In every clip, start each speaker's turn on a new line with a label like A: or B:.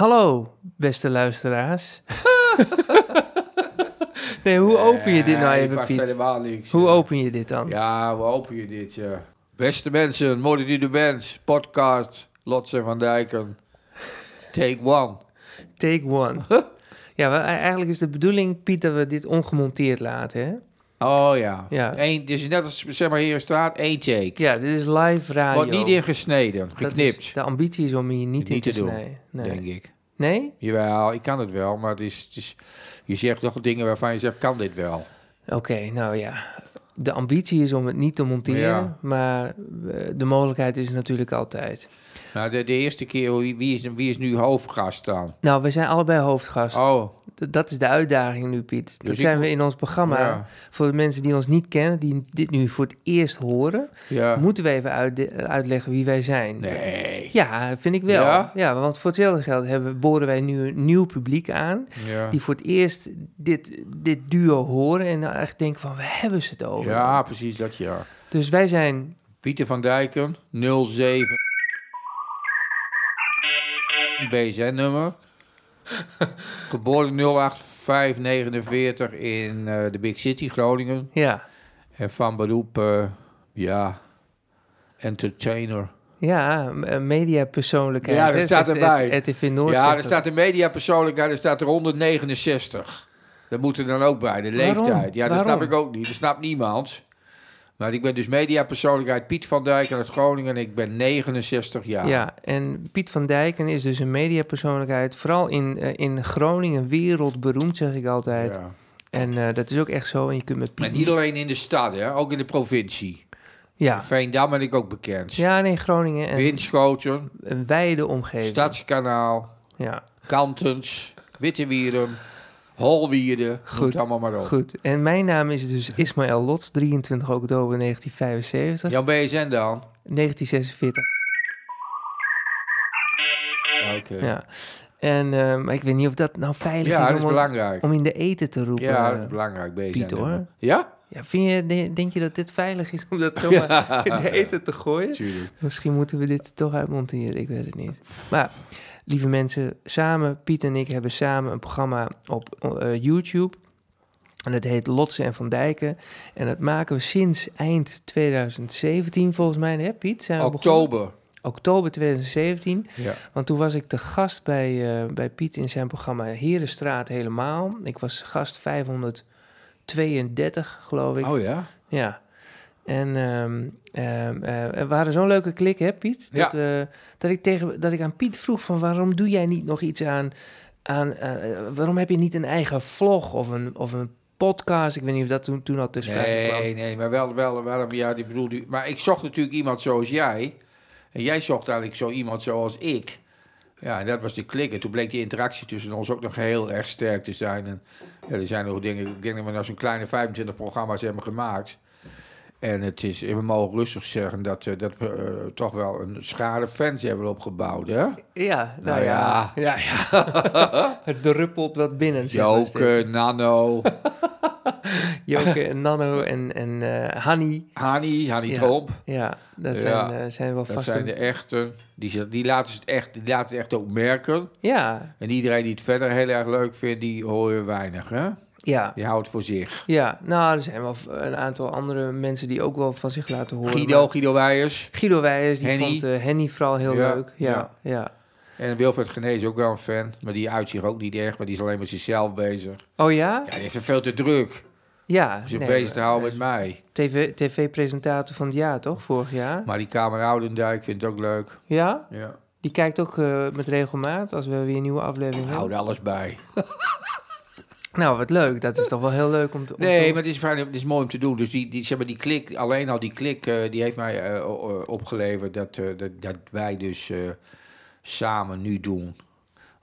A: Hallo, beste luisteraars. nee, hoe open je dit nou
B: Nee,
A: even,
B: past
A: Piet?
B: Eh, helemaal niks.
A: Hoe
B: ja.
A: open je dit dan?
B: Ja, hoe open je dit, ja. Beste mensen, Modder die de Bands, podcast, Lotse van Dijken, take one.
A: Take one. ja, wel, e- eigenlijk is de bedoeling, Piet, dat we dit ongemonteerd laten, hè?
B: Oh ja.
A: Ja.
B: Eén, dit is net als, zeg maar, hier straat, één take.
A: Ja, dit is live radio.
B: Wordt niet ingesneden,
A: Dat
B: geknipt,
A: is- de ambitie is om hier niet
B: Niet
A: in te
B: te doen,
A: snijden. Nee?
B: denk ik.
A: nee?
B: Jawel, ik kan het wel, maar het is, het is, je zegt toch dingen waarvan je zegt, kan dit wel?
A: Oké, nou ja. De ambitie is om het niet te monteren,
B: Ja.
A: maar eh, de mogelijkheid is er natuurlijk altijd.
B: Nou, de, de eerste keer, wie wie is, wie is nu hoofdgast dan?
A: Nou, we zijn allebei hoofdgast.
B: Oh,
A: D- Dat is de uitdaging nu, Piet. Dat
B: ik
A: zijn
B: moet-
A: we in ons programma.
B: Ja.
A: Voor de mensen die ons niet kennen, die dit nu voor het eerst horen,
B: ja.
A: moeten we even uitde- uitleggen wie wij zijn.
B: Nee.
A: Ja, vind ik wel. Ja?
B: Ja?
A: want voor hetzelfde geld hebben, boren wij nu een nieuw publiek aan.
B: Ja.
A: Die voor het eerst dit, dit duo horen en dan echt denken van, we hebben ze het over.
B: ja, precies dat, ja.
A: Dus wij zijn,
B: Pieter van Dijken, 07. BSN-nummer. Geboren 08549 in eh, de Big City, Groningen.
A: ja,
B: En van beroep, eh, ja, entertainer.
A: ja m- eh, mediapersoonlijkheid.
B: Ja, dat
A: hè,
B: staat
A: zegt
B: erbij.
A: het- RTV Noord
B: ja,
A: zegt
B: er
A: dat.
B: staat een mediapersoonlijkheid, er staat er 169. Dat moet er dan ook bij, de
A: Waarom?
B: leeftijd. Ja, dat
A: Waarom?
B: snap ik ook niet, dat snapt niemand. Maar ik ben dus mediapersoonlijkheid Piet van Dijk uit Groningen en ik ben 69 jaar.
A: Ja, en Piet van Dijken is dus een mediapersoonlijkheid. Vooral in, eh, in Groningen wereldberoemd, zeg ik altijd.
B: Ja.
A: En eh, dat is ook echt zo. En je kunt met Piet...
B: En niet alleen in de stad, hè? ook in de provincie.
A: Ja.
B: Veendam ben ik ook bekend.
A: ja, nee, Groningen en
B: Winschoten,
A: een wijde omgeving.
B: Stadskanaal,
A: Ja,
B: Kantens, Wittewieren, Holwierden. Goed.
A: Goed.
B: allemaal maar op.
A: goed. En mijn naam is dus Ismaël Lots, 23 oktober 1975.
B: Jan BSN dan?
A: 1946.
B: Ja, Oké.
A: Ja. En eh, maar ik weet niet of dat nou veilig
B: Ja,
A: is,
B: dat is
A: om,
B: belangrijk.
A: om in de eten te roepen.
B: Ja, dat is belangrijk, BSN.
A: eh, Piet, hoor.
B: nummer. Ja?
A: Ja, vind je, de- denk je dat dit veilig is om dat zomaar in de eten te gooien?
B: Tuurlijk.
A: Misschien moeten we dit toch uitmonteren, ik weet het niet. Maar lieve mensen, samen, Piet en ik hebben samen een programma op eh, YouTube. En dat heet Lotsen en Van Dijken. En dat maken we sinds eind 2017 volgens mij, hè Piet? Zijn we begonnen?
B: Oktober.
A: Oktober 2017.
B: Ja.
A: Want toen was ik te gast bij, eh, bij Piet in zijn programma Herenstraat Helemaal. Ik was gast 532, geloof ik.
B: Oh ja?
A: Ja. En ehm, ehm, eh, we hadden zo'n leuke klik, hè, Piet? Dat,
B: Ja.
A: we- dat, ik tegen, dat ik aan Piet vroeg van waarom doe jij niet nog iets aan... aan eh, waarom heb je niet een eigen vlog of een, of een podcast? Ik weet niet of dat toen, toen al te sprake kwam.
B: Nee, nee, maar wel, wel, wel, ja, die bedoel, die- maar ik zocht natuurlijk iemand zoals jij. En jij zocht eigenlijk zo iemand zoals ik. Ja, en dat was de klik. En toen bleek die interactie tussen ons ook nog heel erg sterk te zijn. En ja, er zijn nog dingen, ik denk dat we nou zo'n kleine 25 programma's hebben gemaakt. En het is, we mogen rustig zeggen dat, eh, dat we eh, toch wel een schare fans hebben opgebouwd, hè?
A: Ja, nou,
B: Nou
A: ja.
B: ja.
A: ja, ja. Het druppelt wat binnen. zeg maar steeds.
B: Joke, Nano,
A: Joke en Nano en, en eh Hanny.
B: Hani, Hani
A: Ja.
B: Tromp.
A: Ja, dat
B: Ja.
A: zijn, eh, zijn wel
B: Dat
A: vast...
B: zijn de echte. Die, z- die, laten het echt, die laten het echt ook merken.
A: Ja,
B: En iedereen die het verder heel erg leuk vindt, die hoor je weinig. Hè?
A: ja.
B: Die houdt voor zich.
A: Ja, nou, er zijn wel v- een aantal andere mensen die ook wel van zich laten horen.
B: Guido,
A: maar-
B: Guido Weijers.
A: Guido Weijers, die
B: Henny.
A: vond eh, Henny vooral heel
B: Ja,
A: leuk. Ja, ja.
B: En Wilfred Genees ook wel een fan. Maar die uit zich ook niet echt. Maar die is alleen met zichzelf bezig.
A: Oh ja?
B: Ja, die heeft het veel te druk.
A: Ja.
B: Om zich
A: nee,
B: bezig te
A: maar-
B: houden met mij.
A: TV TV-presentator van het jaar, toch? Vorig jaar.
B: Maar die Kamer Oudendijk vindt het ook leuk.
A: Ja?
B: Ja.
A: Die kijkt ook eh, met regelmaat als we weer een nieuwe aflevering hebben.
B: Houd alles bij.
A: Nou, wat leuk. Dat is toch wel heel leuk om te... om
B: Nee,
A: te-
B: maar het is, fijn, het is mooi om te doen. Dus die, die, zeg maar, die klik, alleen al die klik, eh, die heeft mij eh, o- eh, opgeleverd dat, eh, dat, dat wij dus eh, samen nu doen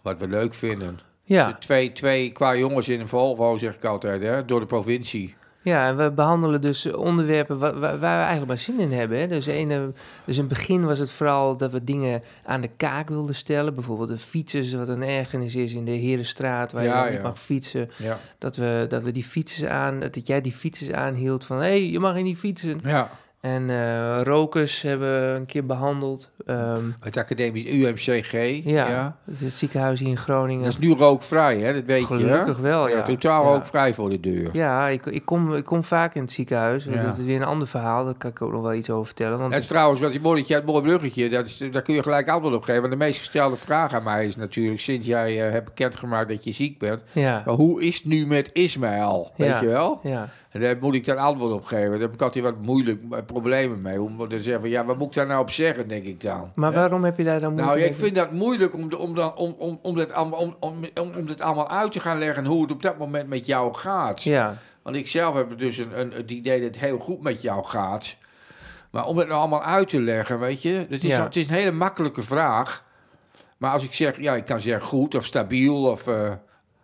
B: wat we leuk vinden. De
A: Ja.
B: Twee, twee qua jongens in een Volvo, zeg ik altijd, hè, door de provincie.
A: ja, en we behandelen dus onderwerpen wa- wa- waar, we eigenlijk maar zin in hebben. Hè? Dus, een, eh, dus in het begin was het vooral dat we dingen aan de kaak wilden stellen. Bijvoorbeeld de fietsers, wat een ergernis is in de Herenstraat... waar je
B: Ja,
A: dan niet
B: ja.
A: mag fietsen.
B: Ja.
A: Dat we, dat we die fietsers aan, dat jij die fietsers aanhield van hé, hey, je mag hier niet fietsen.
B: ja.
A: En eh, rokers hebben we een keer behandeld. Ehm,
B: Het academisch UMCG.
A: ja, het, is het ziekenhuis hier in Groningen.
B: Dat is nu rookvrij, hè? Dat weet je, hè?
A: Gelukkig wel, ja.
B: Ja, totaal
A: Ja.
B: rookvrij voor de deur.
A: Ja, ik, ik, kom, ik kom vaak in het ziekenhuis.
B: Ja.
A: Dat is weer een ander verhaal. Daar kan ik ook nog wel iets over vertellen. Want
B: Dat is trouwens wat die molletje, het mooie bruggetje, dat is, daar kun je gelijk antwoord op geven. Want de meest gestelde vraag aan mij is natuurlijk, sinds jij eh, hebt bekendgemaakt dat je ziek bent,
A: ja,
B: maar hoe is het nu met Ismaël? Weet
A: Ja.
B: je wel?
A: ja,
B: En daar moet ik dan antwoord op geven. Daar heb ik altijd wat moeilijk eh, problemen mee. Om te zeggen, van, ja, wat moet ik daar nou op zeggen, denk ik dan.
A: maar
B: Ja.
A: waarom heb je daar dan
B: Nou,
A: moeite
B: ja, ik
A: mee?
B: vind dat moeilijk om, de- om, dan, om, om, om, dit allemaal, om, om, om, om dit allemaal uit te gaan leggen hoe het op dat moment met jou gaat.
A: Ja,
B: Want ik zelf heb dus een, een, het idee dat het heel goed met jou gaat. Maar om het nou allemaal uit te leggen, weet je, het is,
A: Ja.
B: zo- het is een hele makkelijke vraag. Maar als ik zeg, ja, ik kan zeggen goed of stabiel of eh,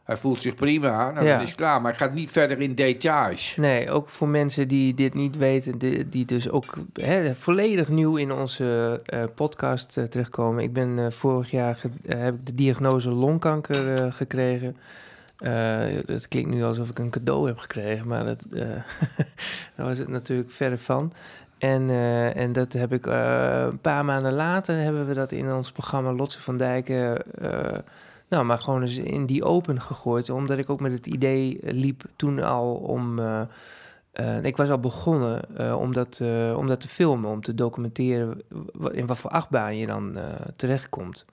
B: hij voelt zich prima, nou,
A: Ja.
B: dan is het klaar. Maar ik ga het niet verder in details.
A: nee, ook voor mensen die dit niet weten, die, die dus ook hè, volledig nieuw in onze eh, podcast eh, terechtkomen. Ik ben eh, vorig jaar ge- eh, heb ik de diagnose longkanker eh, gekregen. Eh, het klinkt nu alsof ik een cadeau heb gekregen, maar dat, eh, daar was het natuurlijk verre van. En, eh, en dat heb ik eh, een paar maanden later hebben we dat in ons programma Lotse van Dijken. eh, nou, maar gewoon eens in die open gegooid. Omdat ik ook met het idee liep toen al om. eh, eh, ik was al begonnen eh, om, dat, eh, om dat te filmen, om te documenteren wa- in wat voor achtbaan je dan eh, terechtkomt.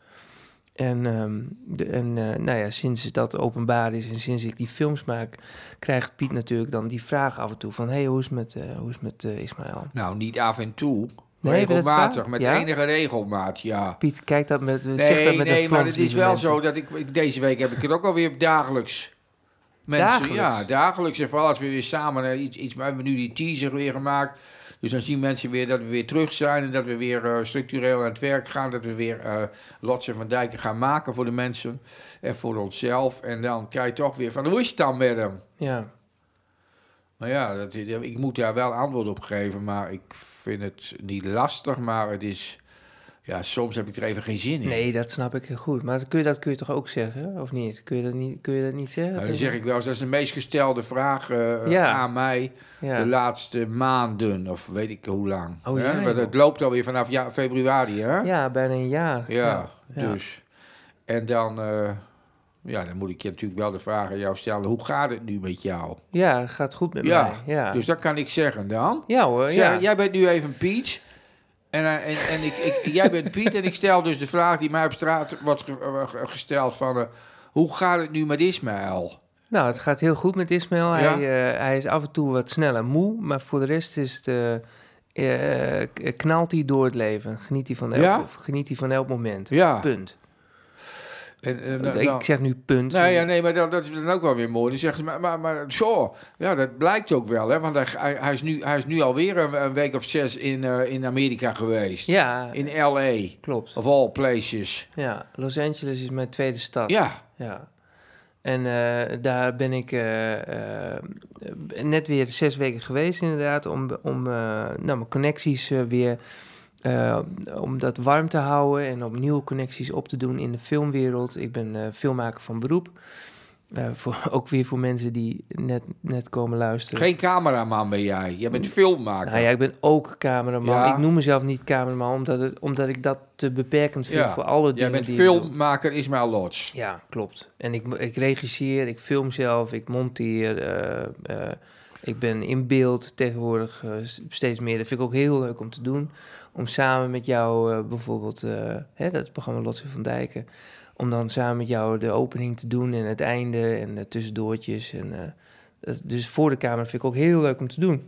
A: En, ehm, de, en eh, nou ja, sinds dat openbaar is en sinds ik die films maak, krijgt Piet natuurlijk dan die vraag af en toe van... hé, hey, hoe is het met, eh, hoe is het met eh, Ismaël?
B: Nou, niet af en toe.
A: maar dat is
B: regelmatig,
A: waar.
B: met
A: Ja?
B: enige regelmaat, ja.
A: Piet kijkt dat met, zegt dat met een
B: nee,
A: frons,
B: maar het is
A: lieve
B: wel
A: mensen.
B: zo dat ik, ik- deze week heb ik het ook alweer dagelijks. Mensen,
A: Dagelijks?
B: ja, dagelijks. En vooral als we weer samen eh, iets, iets, we hebben nu die teaser weer gemaakt. Dus dan zien mensen weer dat we weer terug zijn en dat we weer eh, structureel aan het werk gaan. Dat we weer eh Lotsen van Dijken gaan maken voor de mensen en voor onszelf. En dan krijg je toch weer van, hoe is het dan met hem?
A: Ja,
B: Nou ja, dat, is- ik moet daar wel antwoord op geven, maar ik vind het niet lastig. Maar het is, ja, soms heb ik er even geen zin in.
A: nee, dat snap ik heel goed. Maar dat kun je, dat kun je toch ook zeggen, of niet? Kun je dat niet, kun je dat niet zeggen?
B: Nou, dan zeg ik wel eens, dat is de meest gestelde vraag eh,
A: Ja.
B: aan mij
A: Ja.
B: de laatste maanden, of weet ik hoe lang.
A: Oh,
B: hè?
A: ja,
B: Want het loopt alweer vanaf ja, februari, hè?
A: Ja, bijna een jaar.
B: Ja,
A: ja.
B: dus. En dan, eh, ja, dan moet ik je natuurlijk wel de vraag aan jou stellen, hoe gaat het nu met jou?
A: Ja, het gaat goed met
B: Ja,
A: mij. Ja,
B: Dus dat kan ik zeggen dan.
A: ja hoor, ja.
B: Zeg, Jij bent nu even Piet. En, eh, en, en ik, ik, jij bent Piet en ik stel dus de vraag die mij op straat wordt ge- eh, ge- gesteld van... eh, hoe gaat het nu met Ismaël?
A: Nou, het gaat heel goed met Ismail. Hij,
B: Ja.
A: eh, hij is af en toe wat sneller moe, maar voor de rest is het, eh, eh, k- knalt hij door het leven. Geniet hij van elk,
B: Ja?
A: of geniet hij van elk moment.
B: Ja.
A: Punt.
B: En, eh, dan-
A: Ik zeg nu punt.
B: Nou ja, nee, maar dat, dat is dan ook wel weer mooi. Dan zegt ze, maar, maar, maar zo, ja, dat blijkt ook wel, hè? Want hij, hij, hij is, nu, hij is nu alweer een, een week of zes in, eh, in Amerika geweest.
A: Ja,
B: In L.A.,
A: klopt.
B: of all places.
A: Ja, Los Angeles is mijn tweede stad.
B: Ja,
A: Ja. En eh, daar ben ik eh, eh, net weer zes weken geweest, inderdaad, om, om eh, nou, mijn connecties eh, weer eh, om dat warm te houden en om nieuwe connecties op te doen in de filmwereld. Ik ben eh, filmmaker van beroep. Eh, voor, ook weer voor mensen die net, net komen luisteren.
B: geen cameraman ben jij. Jij bent filmmaker.
A: Nou ja, ik ben ook cameraman.
B: Ja.
A: Ik noem mezelf niet cameraman omdat, het, omdat ik dat te beperkend vind
B: Ja.
A: voor alle dingen
B: jij bent
A: die ik doe.
B: filmmaker Ismael Lotz.
A: Ja, klopt. En ik, ik regisseer, ik film zelf, ik monteer. eh, eh, ik ben in beeld tegenwoordig eh, s- steeds meer. Dat vind ik ook heel leuk om te doen. Om samen met jou eh, bijvoorbeeld, eh, hè, dat programma Lotse van Dijken... om dan samen met jou de opening te doen en het einde en de tussendoortjes. En, eh, dat- dus voor de camera vind ik ook heel leuk om te doen.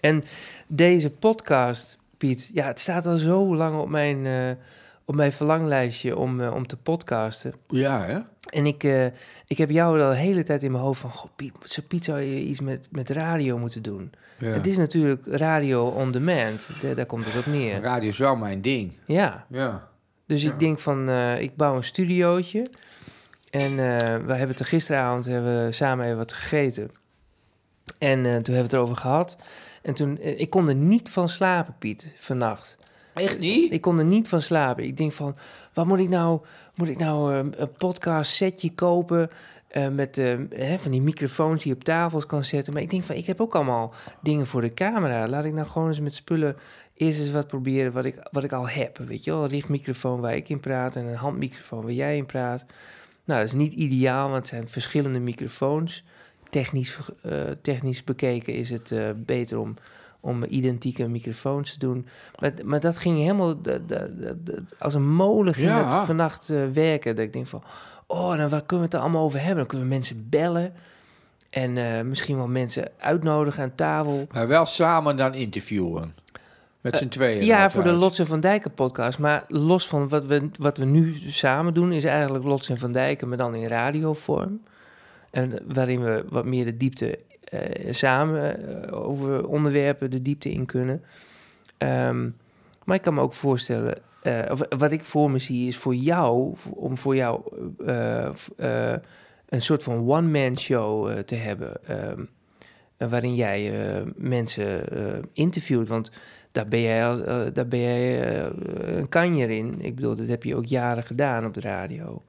A: En deze podcast, Piet, ja, het staat al zo lang op mijn, eh, op mijn verlanglijstje om, eh, om te podcasten.
B: Ja, hè?
A: En ik, eh, ik heb jou al de hele tijd in mijn hoofd van... Goh, Piet, zo Piet zou je iets met, met radio moeten doen.
B: Ja.
A: Het is natuurlijk radio on demand. Da- daar komt het op neer.
B: Radio is wel mijn ding.
A: Ja,
B: Ja.
A: dus
B: Ja.
A: ik denk van... eh, ik bouw een studiootje. En eh, we hebben het er gisteravond hebben we samen even wat gegeten. En eh, toen hebben we het erover gehad. En toen... eh, ik kon er niet van slapen, Piet, vannacht.
B: Echt niet?
A: Ik kon er niet van slapen. Ik denk van, wat moet ik nou? Moet ik nou eh, een podcast setje kopen eh, met eh, hè, van die microfoons die je op tafels kan zetten? Maar ik denk van, ik heb ook allemaal dingen voor de camera. Laat ik nou gewoon eens met spullen eerst eens wat proberen wat ik, wat ik al heb. Weet je wel, een richtmicrofoon waar ik in praat en een handmicrofoon waar jij in praat. Nou, dat is niet ideaal, want het zijn verschillende microfoons. Technisch, ver- eh, technisch bekeken is het eh, beter om, om identieke microfoons te doen. Maar, maar dat ging helemaal dat- dat- dat- dat- als een molen ging
B: Ja.
A: het vannacht eh, werken. Dat ik denk van, oh, nou, waar kunnen we het er allemaal over hebben? Dan kunnen we mensen bellen en eh, misschien wel mensen uitnodigen aan tafel.
B: Maar wel samen dan interviewen. Met z'n tweeën.
A: Eh, Ja,
B: altijd.
A: voor de Lots en Van Dijken podcast. Maar los van wat we, wat we nu samen doen, is eigenlijk Lots en Van Dijken, maar dan in radiovorm. En waarin we wat meer de diepte eh, samen eh, over onderwerpen de diepte in kunnen. Ehm, maar ik kan me ook voorstellen, eh, of wat ik voor me zie, is voor jou, om voor jou eh, eh, f- eh, een soort van one-man show eh, te hebben. ehm, eh, waarin jij eh, mensen eh, interviewt. Want daar ben jij, al- eh, daar ben jij eh, een kanjer in. Ik bedoel, dat heb je ook jaren gedaan op de radio.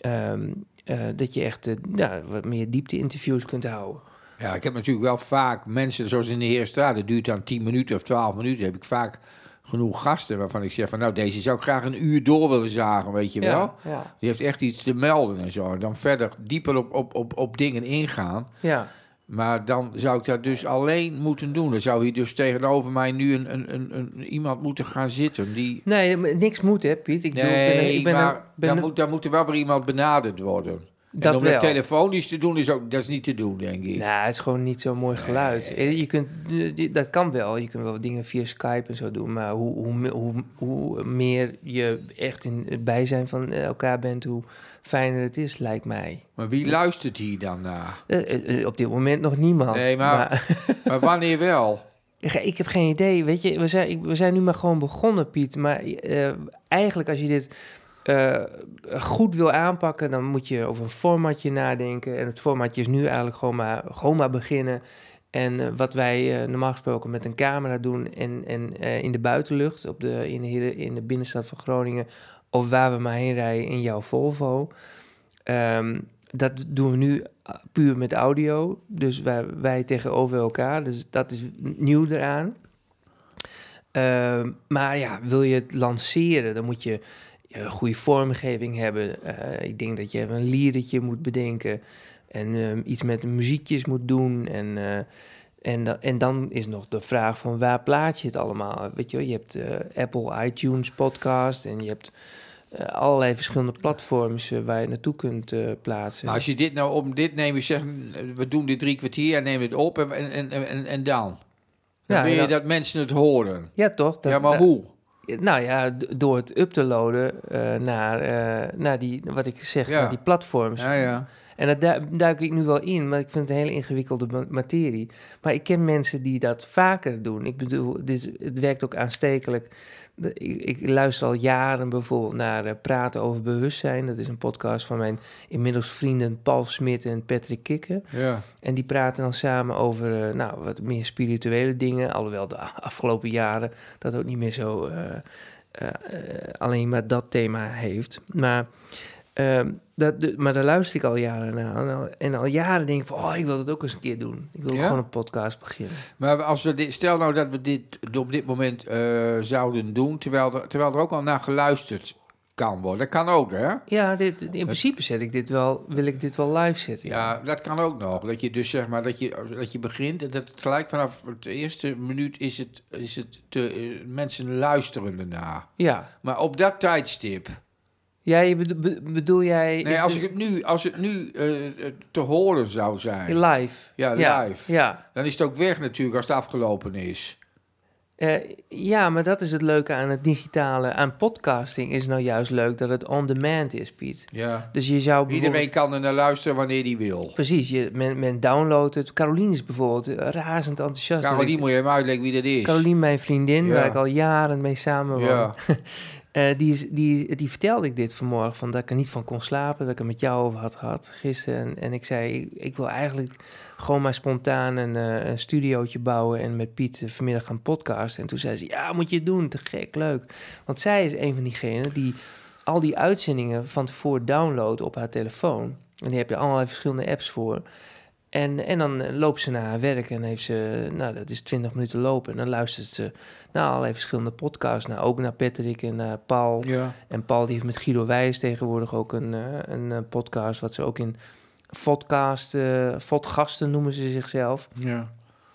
A: Ehm, eh, dat je echt eh, nou, wat meer diepte-interviews kunt houden.
B: Ja, ik heb natuurlijk wel vaak mensen, zoals in de Heerstraat, dat duurt dan 10 minuten of 12 minuten, heb ik vaak genoeg gasten waarvan ik zeg van nou, deze zou ik graag een uur door willen zagen, weet je wel.
A: Ja, ja,
B: Die heeft echt iets te melden en zo. En dan verder dieper op, op, op, op dingen ingaan.
A: ja.
B: Maar dan zou ik dat dus alleen moeten doen. Dan zou hier dus tegenover mij nu een, een, een, een- iemand moeten gaan zitten die...
A: Nee, maar niks moet, hè, Piet? Ik bedoel, ik ben,
B: Nee,
A: een- ik ben, een-
B: maar
A: ben
B: dan,
A: een-
B: moet, dan moet er wel weer iemand benaderd worden. en
A: dat
B: om
A: wel.
B: dat telefonisch te doen, is ook, dat is niet te doen, denk ik.
A: Nou, het is gewoon niet zo'n mooi geluid. Eh, Je kunt, je- dat kan wel. Je kunt wel dingen via Skype en zo doen. Maar hoe, hoe, me- hoe, hoe meer je echt in het bijzijn van eh, elkaar bent, hoe fijner het is, lijkt mij.
B: Maar wie luistert hier dan naar?
A: Eh, eh, eh, op dit moment nog niemand.
B: Nee, maar- Maar wanneer wel?
A: Ge- ik heb geen idee. Weet je, we zijn, ik- we zijn nu maar gewoon begonnen, Piet. Maar eh, eigenlijk als je dit eh, goed wil aanpakken, dan moet je over een formatje nadenken. En het formatje is nu eigenlijk gewoon maar, gewoon maar beginnen. En eh, wat wij eh, normaal gesproken met een camera doen en, en eh, in de buitenlucht, op de, in, de, hele- in de binnenstad van Groningen, of waar we maar heen rijden in jouw Volvo. Ehm, dat doen we nu eh, puur met audio. Dus wij, wij tegenover elkaar. Dus dat is nieuw eraan. Ehm, maar ja, wil je het lanceren, dan moet je eh, een goede vormgeving hebben. Eh, ik denk dat je even een liedertje moet bedenken. En ehm, iets met muziekjes moet doen. En, eh, en, da- en dan is nog de vraag van waar plaats je het allemaal? Weet je, wel, je hebt eh, Apple iTunes podcast en je hebt eh, allerlei verschillende platforms eh, waar je naartoe kunt eh, plaatsen.
B: Nou, als je dit nou om dit neemt, je zegt, we doen dit drie kwartier en neem het op en, en, en, en, en dan. Dan
A: Ja,
B: wil je
A: ja.
B: dat mensen het horen.
A: ja, toch? Dat-
B: ja, maar
A: dat-
B: hoe?
A: Nou ja, d- door het up te loaden eh, naar, eh, naar die, wat ik zeg,
B: Ja.
A: naar die platforms.
B: Ja, ja.
A: En daar du- duik ik nu wel in, maar ik vind het een hele ingewikkelde ma- materie. Maar ik ken mensen die dat vaker doen. Ik bedoel, dit, is- het werkt ook aanstekelijk. De- Ik, ik luister al jaren bijvoorbeeld naar eh, Praten over Bewustzijn. Dat is een podcast van mijn inmiddels vrienden Paul Smit en Patrick Kikker.
B: ja.
A: En die praten dan samen over eh, nou, wat meer spirituele dingen. Alhoewel de a- afgelopen jaren dat ook niet meer zo eh, eh, eh, alleen maar dat thema heeft. Maar, ehm, dat, de- maar daar luister ik al jaren naar. En al, en al jaren denk ik van, oh, ik wil dat ook eens een keer doen. Ik wil
B: Ja?
A: gewoon een podcast beginnen.
B: Maar als we dit, stel nou dat we dit op dit moment eh, zouden doen, terwijl er, terwijl er ook al naar geluisterd kan worden. Dat kan ook, hè?
A: Ja, dit, in principe zet ik dit wel, wil ik dit wel live zetten.
B: Ja, dat kan ook nog. Dat je dus zeg maar, dat je, dat je begint en dat het gelijk vanaf het eerste minuut is het, is het te, eh, mensen luisteren ernaar.
A: ja.
B: Maar op dat tijdstip.
A: Ja, je bedo- be- bedoel jij...
B: Nee,
A: is
B: als,
A: dit
B: ik het nu, als het nu eh, eh, te horen zou zijn,
A: Live.
B: Ja, live.
A: Ja.
B: dan is het ook weg natuurlijk als het afgelopen is.
A: Eh, ja, maar dat is het leuke aan het digitale. Aan podcasting is nou juist leuk dat het on-demand is, Piet.
B: Ja.
A: Dus je zou bijvoorbeeld...
B: Iedereen kan er naar luisteren wanneer die wil.
A: Precies, je, men, men downloadt het. Caroline is bijvoorbeeld eh, razend enthousiast.
B: Carolien
A: Dat ik-
B: moet je hem uitleggen wie dat is.
A: Caroline, mijn vriendin,
B: Ja.
A: waar ik al jaren mee samenwoon.
B: Ja.
A: Eh, die, is- die, die vertelde ik dit vanmorgen, van dat ik er niet van kon slapen, dat ik er met jou over had gehad gisteren. En, en ik zei, ik, ik wil eigenlijk gewoon maar spontaan een, eh, een studiootje bouwen en met Piet eh, vanmiddag gaan podcasten. En toen zei ze, ja, moet je het doen, te gek, leuk. Want zij is een van diegenen die al die uitzendingen van tevoren downloadt op haar telefoon. En die heb je allerlei verschillende apps voor. En, en dan eh, loopt ze naar haar werk en heeft ze, nou dat is 20 minuten lopen. En dan luistert ze naar allerlei verschillende podcasts. Nou, ook naar Patrick en naar Paul.
B: Ja.
A: En Paul die heeft met Guido Wijs tegenwoordig ook een, eh, een eh, podcast, wat ze ook in podcast, eh vodgasten noemen ze zichzelf.
B: ja.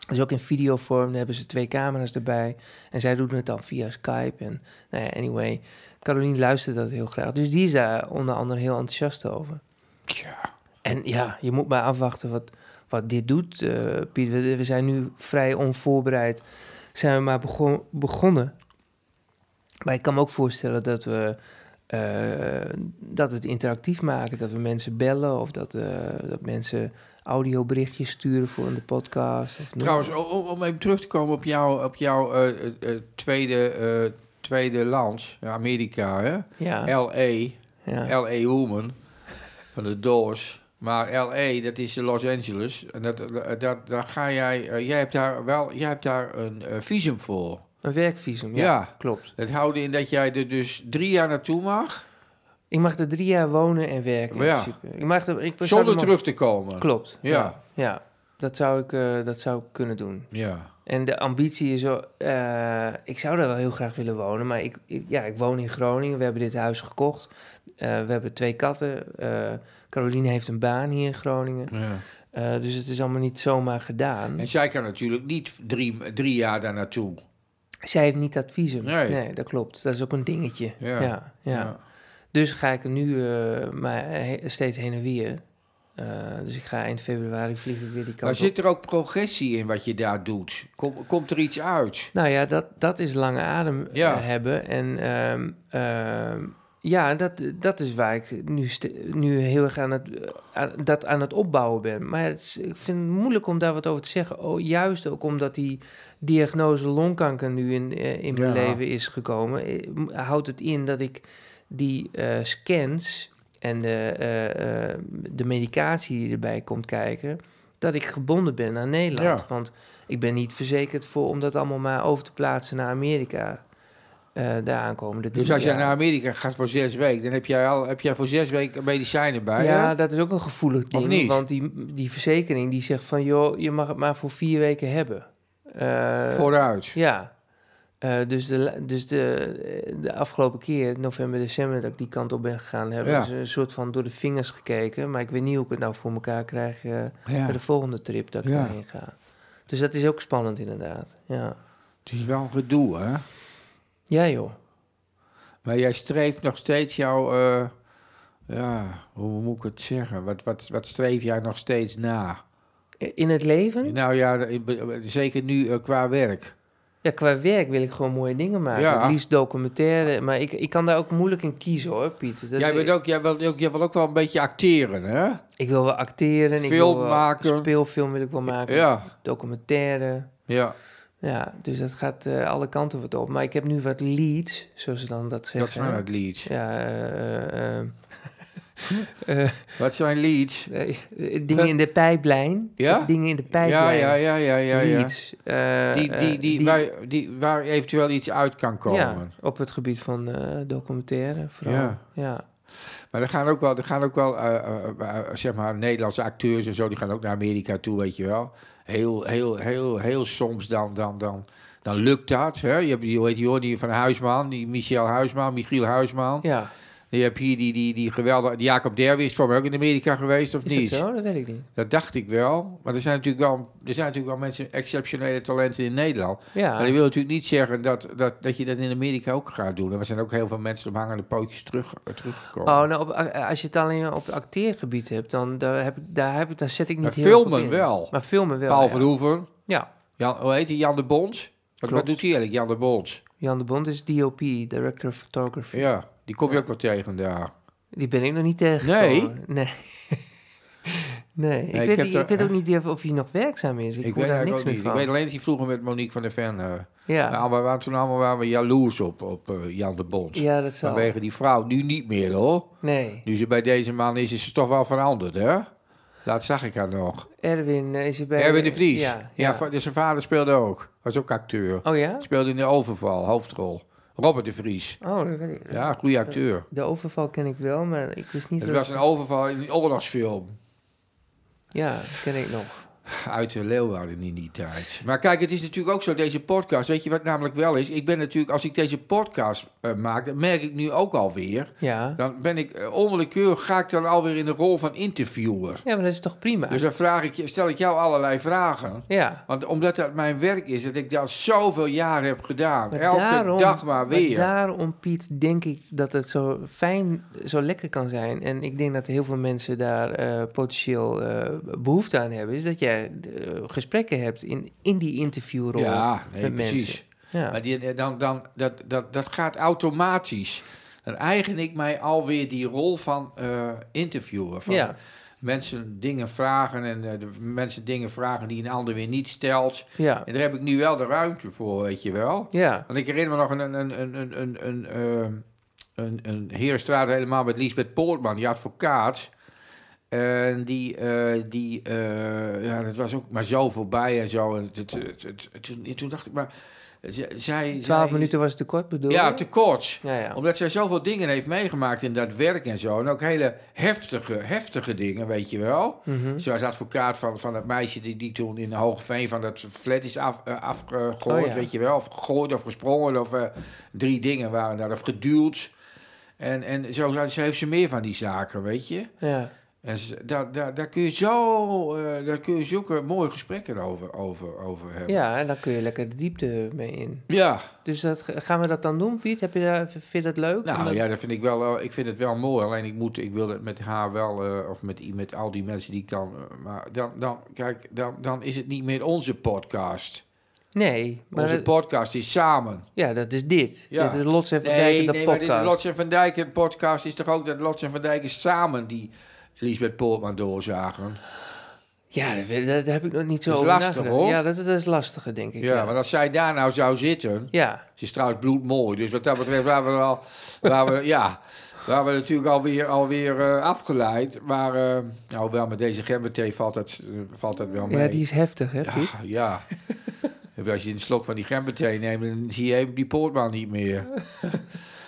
A: Dus ook in videovorm, daar hebben ze twee camera's erbij. En zij doen het dan via Skype. En nou ja, anyway, Caroline luistert dat heel graag. Dus die is daar onder andere heel enthousiast over.
B: Tja.
A: En ja, je moet maar afwachten wat, wat dit doet, eh, Piet. We, we zijn nu vrij onvoorbereid. Zijn we maar begon- begonnen. Maar ik kan me ook voorstellen dat we, eh, dat we het interactief maken. Dat we mensen bellen of dat, eh, dat mensen audioberichtjes sturen voor in de podcast. Of noem-
B: Trouwens, o- o- om even terug te komen op jouw op jou, tweede, eh, tweede land, Amerika, hè?
A: Ja,
B: L.A.,
A: ja.
B: L.A. Woman van de Doors. Maar L.A., dat is in Los Angeles. En dat, eh, dat, daar ga jij, eh, jij hebt daar wel, jij hebt daar een eh, visum voor.
A: een werkvisum. Ja,
B: Ja.
A: klopt.
B: Dat houdt in dat jij er dus drie jaar naartoe mag,
A: Ik mag er drie jaar wonen en werken
B: Maar ja.
A: in principe. Ik mag er, ik zou
B: zonder
A: er maar-
B: terug te komen.
A: Klopt.
B: Ja.
A: ja. Ja. Dat zou ik, eh, dat zou ik kunnen doen.
B: Ja.
A: En de ambitie is, wel, eh, ik zou daar wel heel graag willen wonen, maar ik, ik- ja, ik woon in Groningen. We hebben dit huis gekocht. Eh, we hebben twee katten. Eh Caroline heeft een baan hier in Groningen.
B: ja.
A: Eh, dus het is allemaal niet zomaar gedaan.
B: En zij kan natuurlijk niet drie, drie jaar daar naartoe.
A: Zij heeft niet dat visum.
B: Nee.
A: dat klopt. Dat is ook een dingetje.
B: Ja.
A: ja, ja. Dus ga ik er nu eh, maar he- steeds heen en weer. Eh, dus ik ga eind februari vliegen weer die kant
B: Maar
A: op.
B: zit er ook progressie in wat je daar doet? Kom, komt er iets uit?
A: Nou ja, dat, dat is lange adem eh,
B: Ja.
A: hebben. En ehm, ehm, ja, dat, dat is waar ik nu, st- nu heel erg aan het, eh, aan, dat aan het opbouwen ben. Maar het is- ik vind het moeilijk om daar wat over te zeggen. O, juist ook omdat die diagnose longkanker nu in, eh, in mijn
B: Ja.
A: leven is gekomen. eh, m- Houdt het in dat ik die eh, scans en de, eh, eh, de medicatie die erbij komt kijken... dat ik gebonden ben aan Nederland.
B: Ja.
A: Want ik ben niet verzekerd voor om dat allemaal maar over te plaatsen naar Amerika. eh de aankomende
B: Dus
A: drie
B: als jij
A: jaar.
B: naar Amerika gaat voor zes weken, dan heb jij, al, heb jij voor zes weken medicijnen bij. hè?
A: Ja, dat is ook een gevoelig ding.
B: niet?
A: Want die, die verzekering die zegt van... joh, je mag het maar voor vier weken hebben. Eh,
B: Vooruit.
A: Ja. Eh, dus de, la- dus de, de afgelopen keer, november, december, dat ik die kant op ben gegaan... hebben
B: Ja.
A: ze een soort van door de vingers gekeken. Maar ik weet niet hoe ik het nou voor elkaar krijg... eh,
B: Ja.
A: bij de volgende trip dat ik
B: Ja.
A: daarheen ga. Dus dat is ook spannend inderdaad. Ja,
B: Het is wel een gedoe, hè?
A: ja joh.
B: Maar jij streeft nog steeds jouw... eh, ja, hoe moet ik het zeggen? Wat, wat, wat streef jij nog steeds na?
A: In het leven?
B: Nou ja, ik be- zeker nu eh, qua werk.
A: Ja, qua werk wil ik gewoon mooie dingen maken.
B: Ja.
A: Het liefst documentaire. Maar ik, ik kan daar ook moeilijk in kiezen hoor, Pieter. Dat
B: Jij,
A: is-
B: bent ook, jij, wilt ook, jij wil ook wel een beetje acteren, hè?
A: Ik wil wel acteren. ik
B: Film
A: wil wel,
B: maken.
A: Speelfilm wil ik wel maken.
B: Ja,
A: Documentaire.
B: ja.
A: Ja, dus dat gaat eh, alle kanten wat op. Maar ik heb nu wat leads, zoals ze dan dat
B: dat
A: zeggen.
B: zijn het leads.
A: Ja, eh, eh, eh,
B: Wat zijn leads?
A: eh, dingen in de pijplijn.
B: Ja?
A: Ik heb Dingen in de
B: Ja,
A: pijplijn.
B: ja, ja, ja, ja. ja.
A: Leads. eh,
B: Die, die,
A: eh,
B: die, waar, die, waar eventueel iets uit kan komen.
A: Ja, op het gebied van eh, documentaire vooral.
B: Ja.
A: ja.
B: Maar er gaan ook wel, er gaan ook wel eh, eh, eh, eh, zeg maar, Nederlandse acteurs en zo, die gaan ook naar Amerika toe, weet je wel. Heel, heel, heel, heel soms dan, dan, dan, dan lukt dat. Hè? Je hebt die, hoe heet die, hoor, die van Huisman, die Michel Huisman, Michiel Huisman.
A: ja.
B: Je hebt hier die, die, die geweldige, die Jacob Derwis is voor mij ook in Amerika geweest, of
A: Is
B: niet?
A: dat zo? Dat weet ik niet.
B: Dat dacht ik wel. Maar er zijn natuurlijk wel, er zijn natuurlijk wel mensen, exceptionele talenten in Nederland.
A: Ja.
B: Maar dat wil natuurlijk niet zeggen dat, dat, dat je dat in Amerika ook gaat doen. En er zijn ook heel veel mensen op hangende pootjes terug, eh, teruggekomen.
A: Oh, nou, op, als je het alleen op het acteergebied hebt, dan daar heb, ik- daar, heb, ik- daar zet ik niet
B: Maar
A: heel veel
B: filmen
A: op in.
B: wel.
A: Maar filmen wel.
B: Paul
A: ja.
B: van Hoeven,
A: Ja,
B: Jan, hoe heet hij? Jan de Bond? Wat,
A: Klopt.
B: wat doet hij eigenlijk, Jan de Bond?
A: Jan de Bond is DOP, Director of Photography.
B: Ja, die kom je ook wel tegen daar.
A: Die ben ik nog niet tegengekomen. Nee? Nee, ik,
B: ik
A: weet,
B: heb
A: ik,
B: daar-
A: ik weet ook niet of- of hij nog werkzaam is. Ik, hoor daar
B: eigenlijk
A: niks
B: ook
A: meer
B: niet.
A: van.
B: Ik weet alleen dat hij vroeger met Monique van der Ven... eh,
A: ja.
B: nou, we waren, toen allemaal waren we jaloers op, op eh, Jan de Bond.
A: ja, dat zal.
B: Vanwege die vrouw. Nu niet meer, hoor.
A: Nee,
B: Nu ze bij deze man is, is ze toch wel veranderd, hè? Laat zag ik haar nog.
A: Erwin eh, is er bij...
B: Erwin de Vries.
A: Ja,
B: Ja, va- dus zijn vader speelde ook. Was ook acteur.
A: Oh ja?
B: Speelde in de overval, hoofdrol. Robert de Vries.
A: Oh, dat weet ik.
B: Ja, goede acteur.
A: De overval ken ik wel, maar ik wist niet...
B: Het
A: dat-
B: was een overval in een oorlogsfilm.
A: Ja, dat ken ik nog.
B: Uit de Leeuwarden in die tijd. Maar kijk, het is natuurlijk ook zo, deze podcast. Weet je wat namelijk wel is? Ik ben natuurlijk, als ik deze podcast eh, maak, dat merk ik nu ook alweer.
A: Ja.
B: Dan ben ik eh, onwillekeurig, ga ik dan alweer in de rol van interviewer.
A: ja, maar dat is toch prima?
B: Dus dan vraag ik je, stel ik jou allerlei vragen.
A: ja.
B: Want omdat dat mijn werk is, dat ik dat zoveel jaren heb gedaan.
A: Maar
B: Elke
A: daarom,
B: dag maar weer.
A: daarom, Piet, denk ik dat het zo fijn, zo lekker kan zijn. En ik denk dat heel veel mensen daar eh, potentieel eh, behoefte aan hebben. Is dat jij eh, gesprekken hebt in, in die interviewrol.
B: ja, nee,
A: met
B: precies.
A: mensen. Ja.
B: Maar die, dan, dan, dat, dat, dat gaat automatisch. Dan eigen ik mij alweer die rol van eh interviewer. Van
A: ja,
B: mensen dingen vragen en eh, de mensen dingen vragen die een ander weer niet stelt.
A: ja,
B: En daar heb ik nu wel de ruimte voor, weet je wel.
A: ja.
B: Want ik herinner me nog een, een, een, een, een, een, een, ehm, een, een heerstraat helemaal met Lisbeth Poortman, die advocaat. En die, eh, die eh, ja, dat was ook maar zo voorbij en zo. En het- het- het- het- toen, toen dacht ik, maar z- zij...
A: Twaalf
B: zij-
A: minuten was te kort, bedoel
B: Ja,
A: je?
B: te kort.
A: ja, ja.
B: Omdat zij zoveel dingen heeft meegemaakt in dat werk en zo. En ook hele heftige, heftige dingen, weet je wel.
A: Mhm.
B: Ze was advocaat van, van dat meisje die, die toen in Hoogveen van dat flat is af, eh, afgegooid,
A: Oh ja.
B: weet je wel. Of gegooid of gesprongen of eh, drie dingen waren daar. Of geduwd. En, en zo, ze heeft ze meer van die zaken, weet je.
A: ja.
B: En ze- daar, daar, daar kun je zo, eh, daar kun je zulke mooie gesprekken over, over, over hebben.
A: ja, en dan kun je lekker de diepte mee in.
B: Ja,
A: Dus dat, gaan we dat dan doen, Piet? Heb je daar, vind je dat leuk?
B: nou
A: Omdat-
B: ja, dat vind ik wel, eh, ik vind het wel mooi. Alleen ik moet, ik wil het met haar wel, eh, of met, i- met al die mensen die ik dan, eh, maar dan, dan kijk, dan, dan is het niet meer onze podcast.
A: Nee, maar
B: Onze
A: dat-
B: podcast is samen.
A: ja, dat is dit.
B: Ja.
A: Dit is Lots en Van Dijk, de
B: maar
A: podcast.
B: dit is Lots en Van Dijk en podcast is toch ook dat Lots en Van Dijk is samen die Lisbeth Poortman doorzagen.
A: Ja, dat, weet- dat heb ik nog niet zo
B: Dat is
A: over
B: lastig,
A: nagedacht.
B: hoor.
A: Ja, dat, dat is lastiger, denk ik.
B: Ja, want als zij daar nou zou zitten,
A: ja.
B: ze is trouwens bloedmooi, dus wat dat betreft waren we al, waren we, ja, waren we natuurlijk alweer, alweer eh, afgeleid. Maar eh, nou, wel met deze gemberthee valt dat, eh, valt dat wel mee.
A: ja, die is heftig, hè,
B: ja,
A: Piet?
B: ja. En Als je een slok van die gemberthee neemt, dan zie je even die poortman niet meer.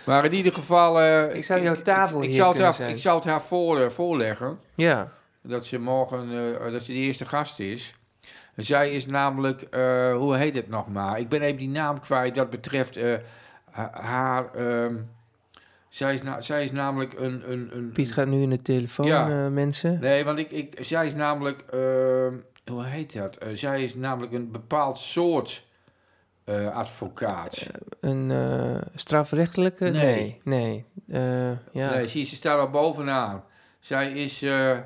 B: Maar in ieder geval... eh,
A: Ik zou jouw tafel
B: ik
A: hier
B: zou, het
A: kunnen
B: haar,
A: zijn.
B: ik zou het haar voor, eh, voorleggen
A: Ja,
B: dat ze morgen eh, dat ze de eerste gast is. En zij is namelijk, eh, hoe heet het nog maar? Ik ben even die naam kwijt. Dat betreft eh, ha- haar. ehm, zij, is na- zij is namelijk een. een, een
A: Piet gaat nu in de telefoon,
B: Ja.
A: eh, mensen.
B: Nee, want ik, ik, zij is namelijk. ehm, hoe heet dat? Eh, zij is namelijk een bepaald soort eh, advocaat.
A: Een eh, strafrechtelijke?
B: Nee.
A: Nee. nee. Eh, ja.
B: Nee, zie je, ze staat al bovenaan. Zij is eh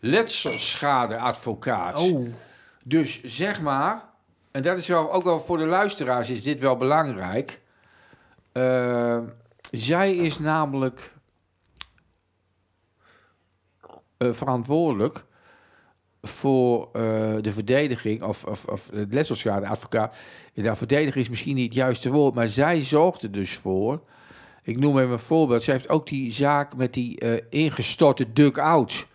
B: letselschadeadvocaat.
A: Oh,
B: Dus zeg maar, en dat is wel, ook wel voor de luisteraars is dit wel belangrijk. Eh, zij is namelijk eh, verantwoordelijk voor eh, de verdediging, of, of, of het letselschadeadvocaat. Nou, verdedigen is misschien niet het juiste woord, maar zij zorgt er dus voor. Ik noem even een voorbeeld. Zij heeft ook die zaak met die eh, ingestorte duck-out,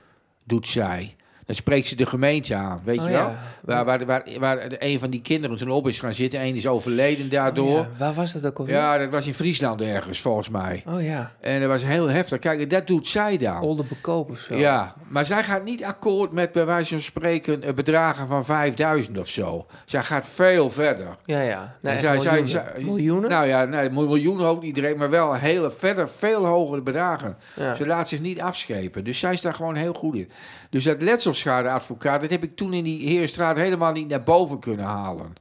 B: doet zij. Dan spreekt ze de gemeente aan, weet
A: oh,
B: je wel?
A: ja.
B: Waar, waar, waar, waar een van die kinderen toen op is gaan zitten. Eén is overleden
A: Oh,
B: daardoor.
A: ja. Waar was dat ook
B: ja.
A: alweer?
B: dat was in Friesland ergens, volgens mij.
A: Oh ja,
B: En dat was heel heftig. Kijk, dat doet zij dan.
A: Oldenbekoop of Oh, zo.
B: Ja, maar zij gaat niet akkoord met, bij wijze van spreken, eh, bedragen van 5000 of zo. Zij gaat veel verder.
A: Ja, ja. Nee,
B: En
A: echt
B: zij- zij-
A: miljoenen.
B: zij-
A: miljoenen?
B: Nou ja, nee, mil- miljoenen hoopt iedereen, maar wel hele verder, veel hogere bedragen.
A: ja.
B: Ze laat zich niet afschepen. Dus zij is daar gewoon heel goed in. Dus dat letselschadeadvocaat, dat heb ik toen in die Heerstraat helemaal niet naar boven kunnen halen.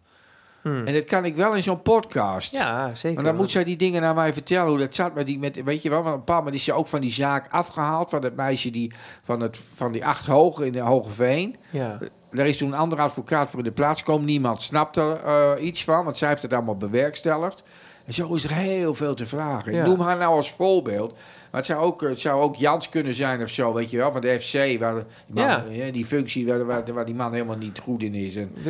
A: Hmm.
B: En dat kan ik wel in zo'n podcast.
A: ja, zeker.
B: Maar dan moet
A: want-
B: zij die dingen naar mij vertellen. Hoe dat zat met die, met, weet je wel, want op een paar moment is ze ook van die zaak afgehaald. Van dat meisje die, van, het, van die acht hoge in de Hoge Veen.
A: Ja.
B: Daar is toen een andere advocaat voor in de plaats gekomen. Niemand snapt er eh, iets van, want zij heeft het allemaal bewerkstelligd. En zo is er heel veel te vragen.
A: Ja.
B: Ik noem haar nou als voorbeeld. Maar het zou, ook, het zou ook Jans kunnen zijn of zo, weet je wel, van de FC. Waar de- die, man,
A: Ja.
B: hè, die functie waar, waar, waar die man helemaal niet goed in is. En,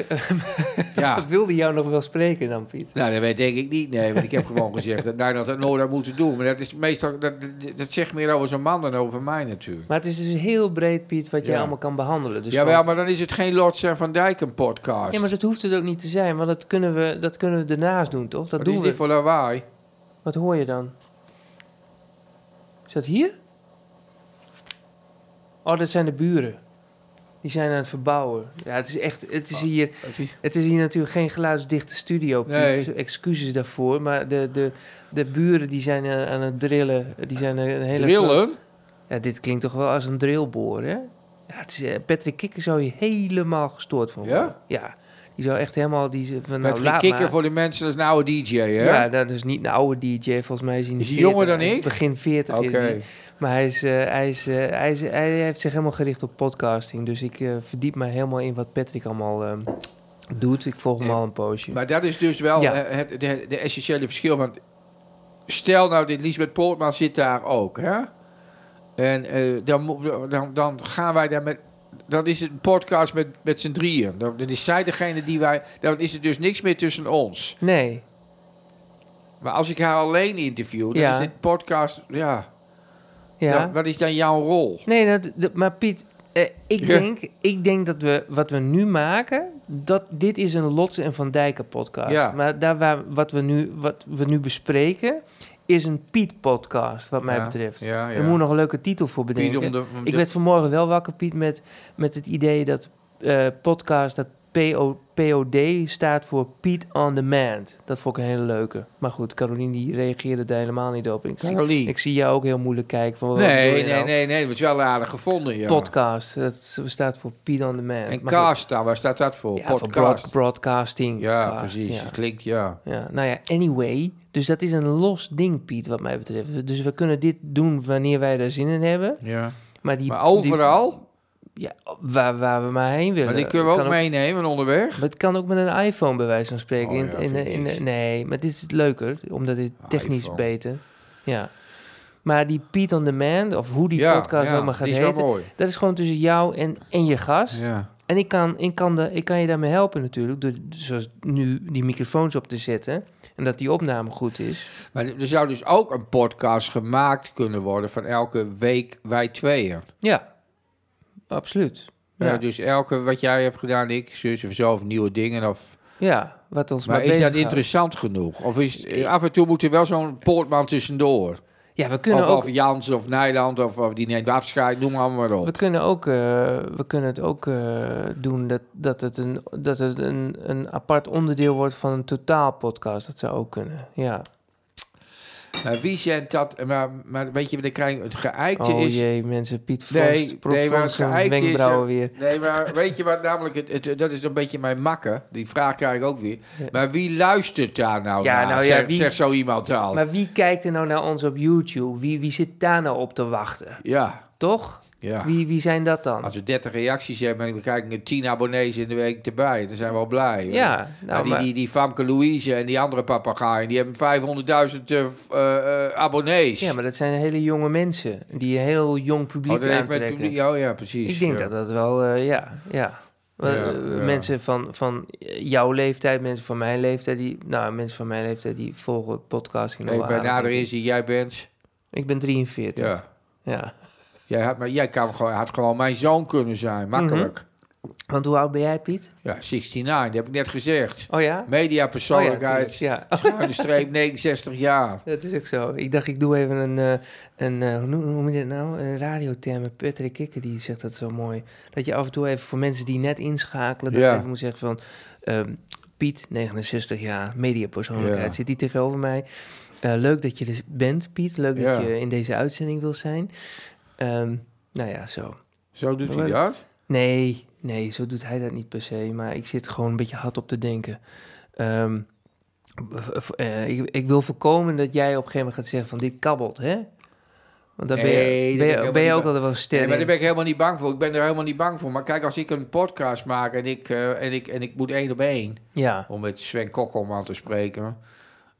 A: Ik
B: ja.
A: wilde jou nog wel spreken dan, Piet.
B: Nou, dat weet denk ik niet. Nee, want ik heb gewoon gezegd dat Nederland dat nooit had moeten doen. Maar dat is meestal, dat, dat- dat zegt meer over zo'n man dan over mij natuurlijk.
A: Maar het is dus heel breed, Piet, wat jij
B: Ja.
A: allemaal kan behandelen. Dus
B: Jawel,
A: van-
B: maar dan is het geen Lotz en Van Dijk een podcast.
A: Ja, maar dat hoeft het ook niet te zijn, want dat kunnen we, dat kunnen we ernaast doen, toch? Dat
B: Wat
A: doen
B: is
A: we.
B: dit voor lawaai?
A: Wat hoor je dan? Is dat hier? Oh, dat zijn de buren. Die zijn aan het verbouwen. Ja, het is echt. Het is hier,
B: Wat is-
A: het is hier natuurlijk geen geluidsdichte studio. Piet.
B: Nee.
A: Excuses daarvoor. Maar de, de, de buren die zijn eh, aan het drillen. Die zijn een hele.
B: Drillen?
A: Ja, dit klinkt toch wel als een drillboor, hè? Ja, het is, eh, Patrick Kikker zou je helemaal gestoord van worden.
B: Ja?
A: Ja. Die zou echt helemaal... Die, ze- van, nou,
B: Patrick
A: laat
B: Kikker
A: maar.
B: voor de mensen, dat is een oude DJ, hè?
A: Ja, dat is niet een oude DJ. Volgens mij is hij in de
B: Is hij jonger
A: 40,
B: dan ik?
A: Begin 40
B: Oké.
A: is hij. Maar hij, is, eh, hij, is, eh, hij, is, hij heeft zich helemaal gericht op podcasting. Dus ik eh, verdiep me helemaal in wat Patrick allemaal ehm, doet. Ik volg hem
B: Ja.
A: al een poosje.
B: Maar dat is dus wel
A: Ja.
B: eh, het de, de essentiële verschil. Want stel nou, dit Lisbeth Poortman zit daar ook. Hè? En eh, dan, mo- dan, dan gaan wij daar met... Dan is het een podcast met, met z'n drieën. Dan, dan is zij degene die wij... Dan is er dus niks meer tussen ons.
A: nee.
B: Maar als ik haar alleen interview, dan
A: Ja.
B: is dit podcast... Ja,
A: Ja.
B: dan- wat is dan jouw rol?
A: Nee, dat, dat- maar Piet, eh, ik,
B: Ja.
A: denk, ik denk dat we wat we nu maken, dat dit is een Lotse en Van Dijken podcast.
B: Ja.
A: Maar daar waar, wat, we nu, wat we nu bespreken, is een Piet podcast, wat mij
B: Ja,
A: betreft.
B: Ja,
A: Er moet nog een leuke titel voor bedenken.
B: Piet om de- om
A: ik
B: de-
A: werd vanmorgen wel wakker, Piet, met, met het idee dat eh, podcast, dat PO, POD staat voor Piet on Demand. Dat vond ik een hele leuke. Maar goed, Caroline die reageerde daar helemaal niet op. Ik, zie-
B: Caroline.
A: ik zie jou ook heel moeilijk kijken. Van, wat bedoel
B: Nee,
A: je
B: nee,
A: nou?
B: nee, nee. Het is wel aardig gevonden, ja.
A: Podcast, dat staat voor Piet on Demand.
B: En
A: Maar goed,
B: cast dan, waar staat dat voor?
A: ja, voor broad- broadcasting.
B: Ja,
A: cast,
B: precies.
A: Ja.
B: Het Klinkt, ja.
A: Ja, nou ja, anyway. Dus dat is een los ding, Piet, wat mij betreft. Dus we kunnen dit doen wanneer wij daar zin in hebben.
B: ja.
A: Maar, die,
B: Maar overal?
A: die- ja, waar, waar we maar heen willen.
B: Maar die kunnen we
A: Kan
B: ook meenemen onderweg.
A: Maar het kan ook met een iPhone, bij wijze van spreken.
B: Oh ja,
A: in, in,
B: vind ik
A: in-
B: niks.
A: nee, maar dit is leuker, omdat dit technisch
B: iPhone.
A: beter... Ja. Maar die Piet on Demand, of hoe die
B: ja,
A: podcast
B: ja,
A: ook maar gaat
B: die is wel
A: heten...
B: mooi.
A: Dat is gewoon tussen jou en, en je gast.
B: Ja.
A: En ik kan, ik, kan de, ik kan je daarmee helpen natuurlijk, door zoals nu die microfoons op te zetten. En dat die opname goed is.
B: Maar er zou dus ook een podcast gemaakt kunnen worden van elke week wij tweeën.
A: Ja, absoluut. Ja,
B: Ja. dus elke wat jij hebt gedaan, ik, zus of zo, of nieuwe dingen. Of,
A: ja wat ons maar,
B: maar is dat
A: bezighoudt.
B: interessant genoeg? Of is, af en toe moet er wel zo'n poortman tussendoor.
A: Ja, we kunnen
B: Of,
A: ook...
B: of Jans of Nijland of, of die neemt afscheid, noem maar, maar
A: We
B: op.
A: kunnen, ook, eh, we kunnen het ook eh, doen dat, dat het, een, dat het een, een apart onderdeel wordt van een totaal podcast. Dat zou ook kunnen. Ja.
B: Maar wie zendt dat? Maar, maar weet je, dan krijg je- het geëikte
A: Oh
B: is...
A: jee, mensen. Piet
B: Nee,
A: Frost, nee,
B: nee, maar
A: zijn
B: geëikt is,
A: wenkbrauwen
B: eh,
A: weer.
B: Nee, maar weet je wat namelijk... Het, het- dat is een beetje mijn makken. Die vraag krijg ik ook weer.
A: Ja.
B: Maar wie luistert daar nou
A: Ja,
B: naar?
A: nou ja,
B: zegt
A: wie-
B: zegt zo iemand al.
A: Maar wie kijkt er nou naar ons op YouTube? Wie, wie zit daar nou op te wachten?
B: Ja,
A: Toch?
B: ja.
A: Wie, wie zijn dat dan?
B: Als we 30 reacties hebben en we kijken 10 abonnees in de week erbij, dan zijn we al blij. hoor.
A: Ja,
B: Maar
A: nou,
B: die,
A: maar,
B: die, die Famke Louise en die andere papagaaien, die hebben 500.000 eh, f- eh, eh, abonnees.
A: ja, maar dat zijn hele jonge mensen die een heel jong publiek
B: Oh, dat heeft met
A: aantrekken.
B: publiek- oh ja, precies.
A: Ik denk
B: ja.
A: dat dat wel, eh, ja, ja. Wel,
B: Ja,
A: eh,
B: ja.
A: Mensen van, van jouw leeftijd, mensen van mijn leeftijd, die, nou, mensen van mijn leeftijd die volgen podcasting nog
B: Nee,
A: wel
B: bij
A: aan,
B: nader
A: denk ik.
B: inzien, jij bent...
A: Ik ben 43. Ja.
B: Ja. Jij, had, maar, jij kan gewoon, had gewoon mijn zoon kunnen zijn, makkelijk.
A: Mhm. Want hoe oud ben jij, Piet?
B: Ja, 69, dat heb ik net gezegd.
A: Oh ja? Oh ja,
B: Mediapersoonlijkheid,
A: tuurlijk, ja.
B: schuine streep, 69 jaar.
A: Dat is ook zo. Ik dacht, ik doe even een, eh, een eh, hoe noem- hoe noem je dit nou? Een radiotherm. Patrick Kikker, die zegt dat zo mooi. Dat je af en toe even voor mensen die net inschakelen, dat
B: Ja.
A: je even moet zeggen van... ehm, Piet, 69 jaar, mediapersoonlijkheid,
B: Ja.
A: zit die tegenover mij. Eh, leuk dat je er bent, Piet. Leuk
B: Ja.
A: dat je in deze uitzending wil zijn. Ehm, nou ja, zo.
B: Zo doet hij
A: Maar-
B: dat.
A: Nee, nee, zo doet hij dat niet per se. Maar ik zit gewoon een beetje hard op te denken. Ehm, v- v- eh, ik, ik wil voorkomen dat jij op een gegeven moment gaat zeggen van dit kabbelt, hè? Want daar ben je,
B: Nee, dat
A: ben
B: ben
A: je,
B: ik helemaal
A: ben je
B: niet
A: ook
B: bang.
A: altijd wel
B: Nee,
A: sterk.
B: maar daar ben ik helemaal niet bang voor. Ik ben er helemaal niet bang voor. Maar kijk, als ik een podcast maak en ik, eh, en ik, en ik moet één op één,
A: Ja,
B: om met Sven Kokkelman te spreken,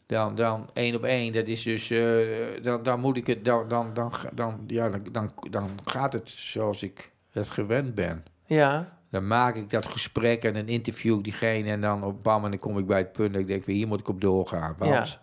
B: dan, dan één op één, dat is dus, eh, dan, dan moet ik het, dan, dan, dan, dan, ja, dan, dan, dan gaat het zoals ik het gewend ben.
A: Ja,
B: Dan maak ik dat gesprek en dan interview ik diegene en dan op bam en dan kom ik bij het punt dat ik denk, van, hier moet ik op doorgaan. Want,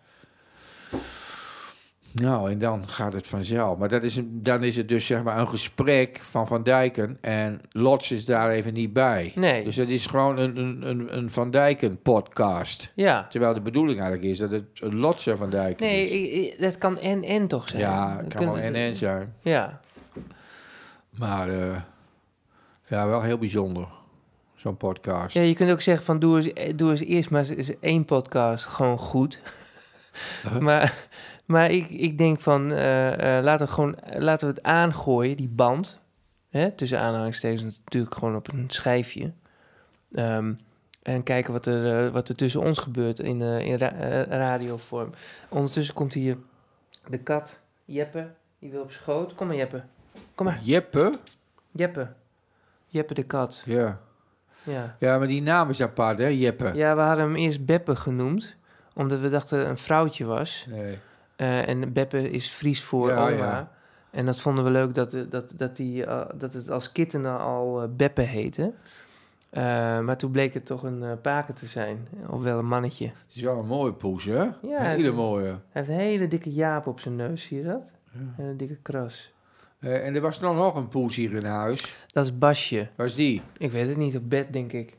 B: Nou, en dan gaat het vanzelf. Maar dat is een, dan is het dus zeg maar een gesprek van Van Dijken en Lots is daar even niet bij.
A: nee.
B: Dus het is gewoon een, een, een, een Van Dijken podcast.
A: ja.
B: Terwijl de bedoeling eigenlijk is dat het een Lotse Van Dijken
A: Nee,
B: is.
A: ik- ik- dat kan en-en toch zijn?
B: ja,
A: Dat
B: het kan wel
A: kunnen-
B: NN zijn.
A: Ja,
B: Maar eh, ja, wel heel bijzonder, zo'n podcast.
A: Ja, je kunt ook zeggen van doe eens, eh, doe eens eerst maar eens één podcast gewoon goed. maar maar ik, ik denk van eh, eh, laten, we gewoon, laten we het aangooien, die band. Hè, tussen aanhalingstekens natuurlijk gewoon op een schijfje. Ehm, en kijken wat er, eh, wat er tussen ons gebeurt in, eh, in ra- eh, radiovorm. Ondertussen komt hier de kat, Jeppe. Die wil op schoot. Kom maar, Jeppe. Kom maar,
B: Jeppe?
A: Jeppe. Jeppe de kat,
B: Ja.
A: ja.
B: ja, maar die naam is apart, hè, Jeppe?
A: Ja, we hadden hem eerst Beppe genoemd, omdat we dachten een vrouwtje was.
B: Nee.
A: Eh, en Beppe is Fries voor
B: Ja,
A: oma.
B: ja.
A: En dat vonden we leuk dat, dat, dat, die, eh, dat het als kitten al eh, Beppe heette. Eh, maar toen bleek het toch een eh, paken te zijn, ofwel een mannetje.
B: Het is wel een mooie poes, hè?
A: Ja,
B: een hele mooie.
A: Hij heeft een hele dikke jaap op zijn neus, zie je dat?
B: Ja.
A: En een dikke kras.
B: Eh, en er was nog, nog een poes hier in huis.
A: Dat is Basje.
B: Waar is die?
A: Ik weet het niet, op bed denk ik.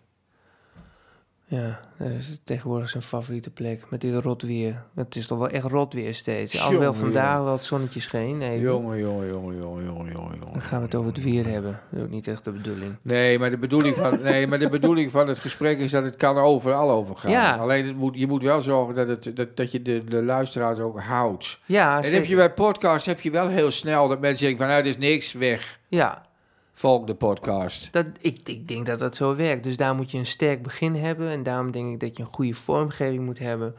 A: Ja, dat is tegenwoordig zijn favoriete plek. Met dit rot weer. Het is toch wel echt rot weer steeds.
B: Tjonge,
A: Alhoewel vandaag
B: jonge.
A: wel het zonnetje scheen. even.
B: Jongen, jongen, jongen, jongen, jongen, jongen. jongen.
A: Dan gaan we het over het weer hebben. Dat is ook niet echt de bedoeling.
B: Nee, maar de bedoeling van, nee, maar de bedoeling van het gesprek is dat het kan overal over gaan.
A: Ja.
B: Alleen het moet, je moet wel zorgen dat, het, dat, dat je de, de luisteraars ook houdt.
A: Ja,
B: en
A: zeker.
B: heb je bij podcasts heb je wel heel snel dat mensen denken van nou, er is niks weg.
A: ja
B: Volg de podcast.
A: dat, ik, ik denk dat dat zo werkt. Dus daar moet je een sterk begin hebben. En daarom denk ik dat je een goede vormgeving moet hebben.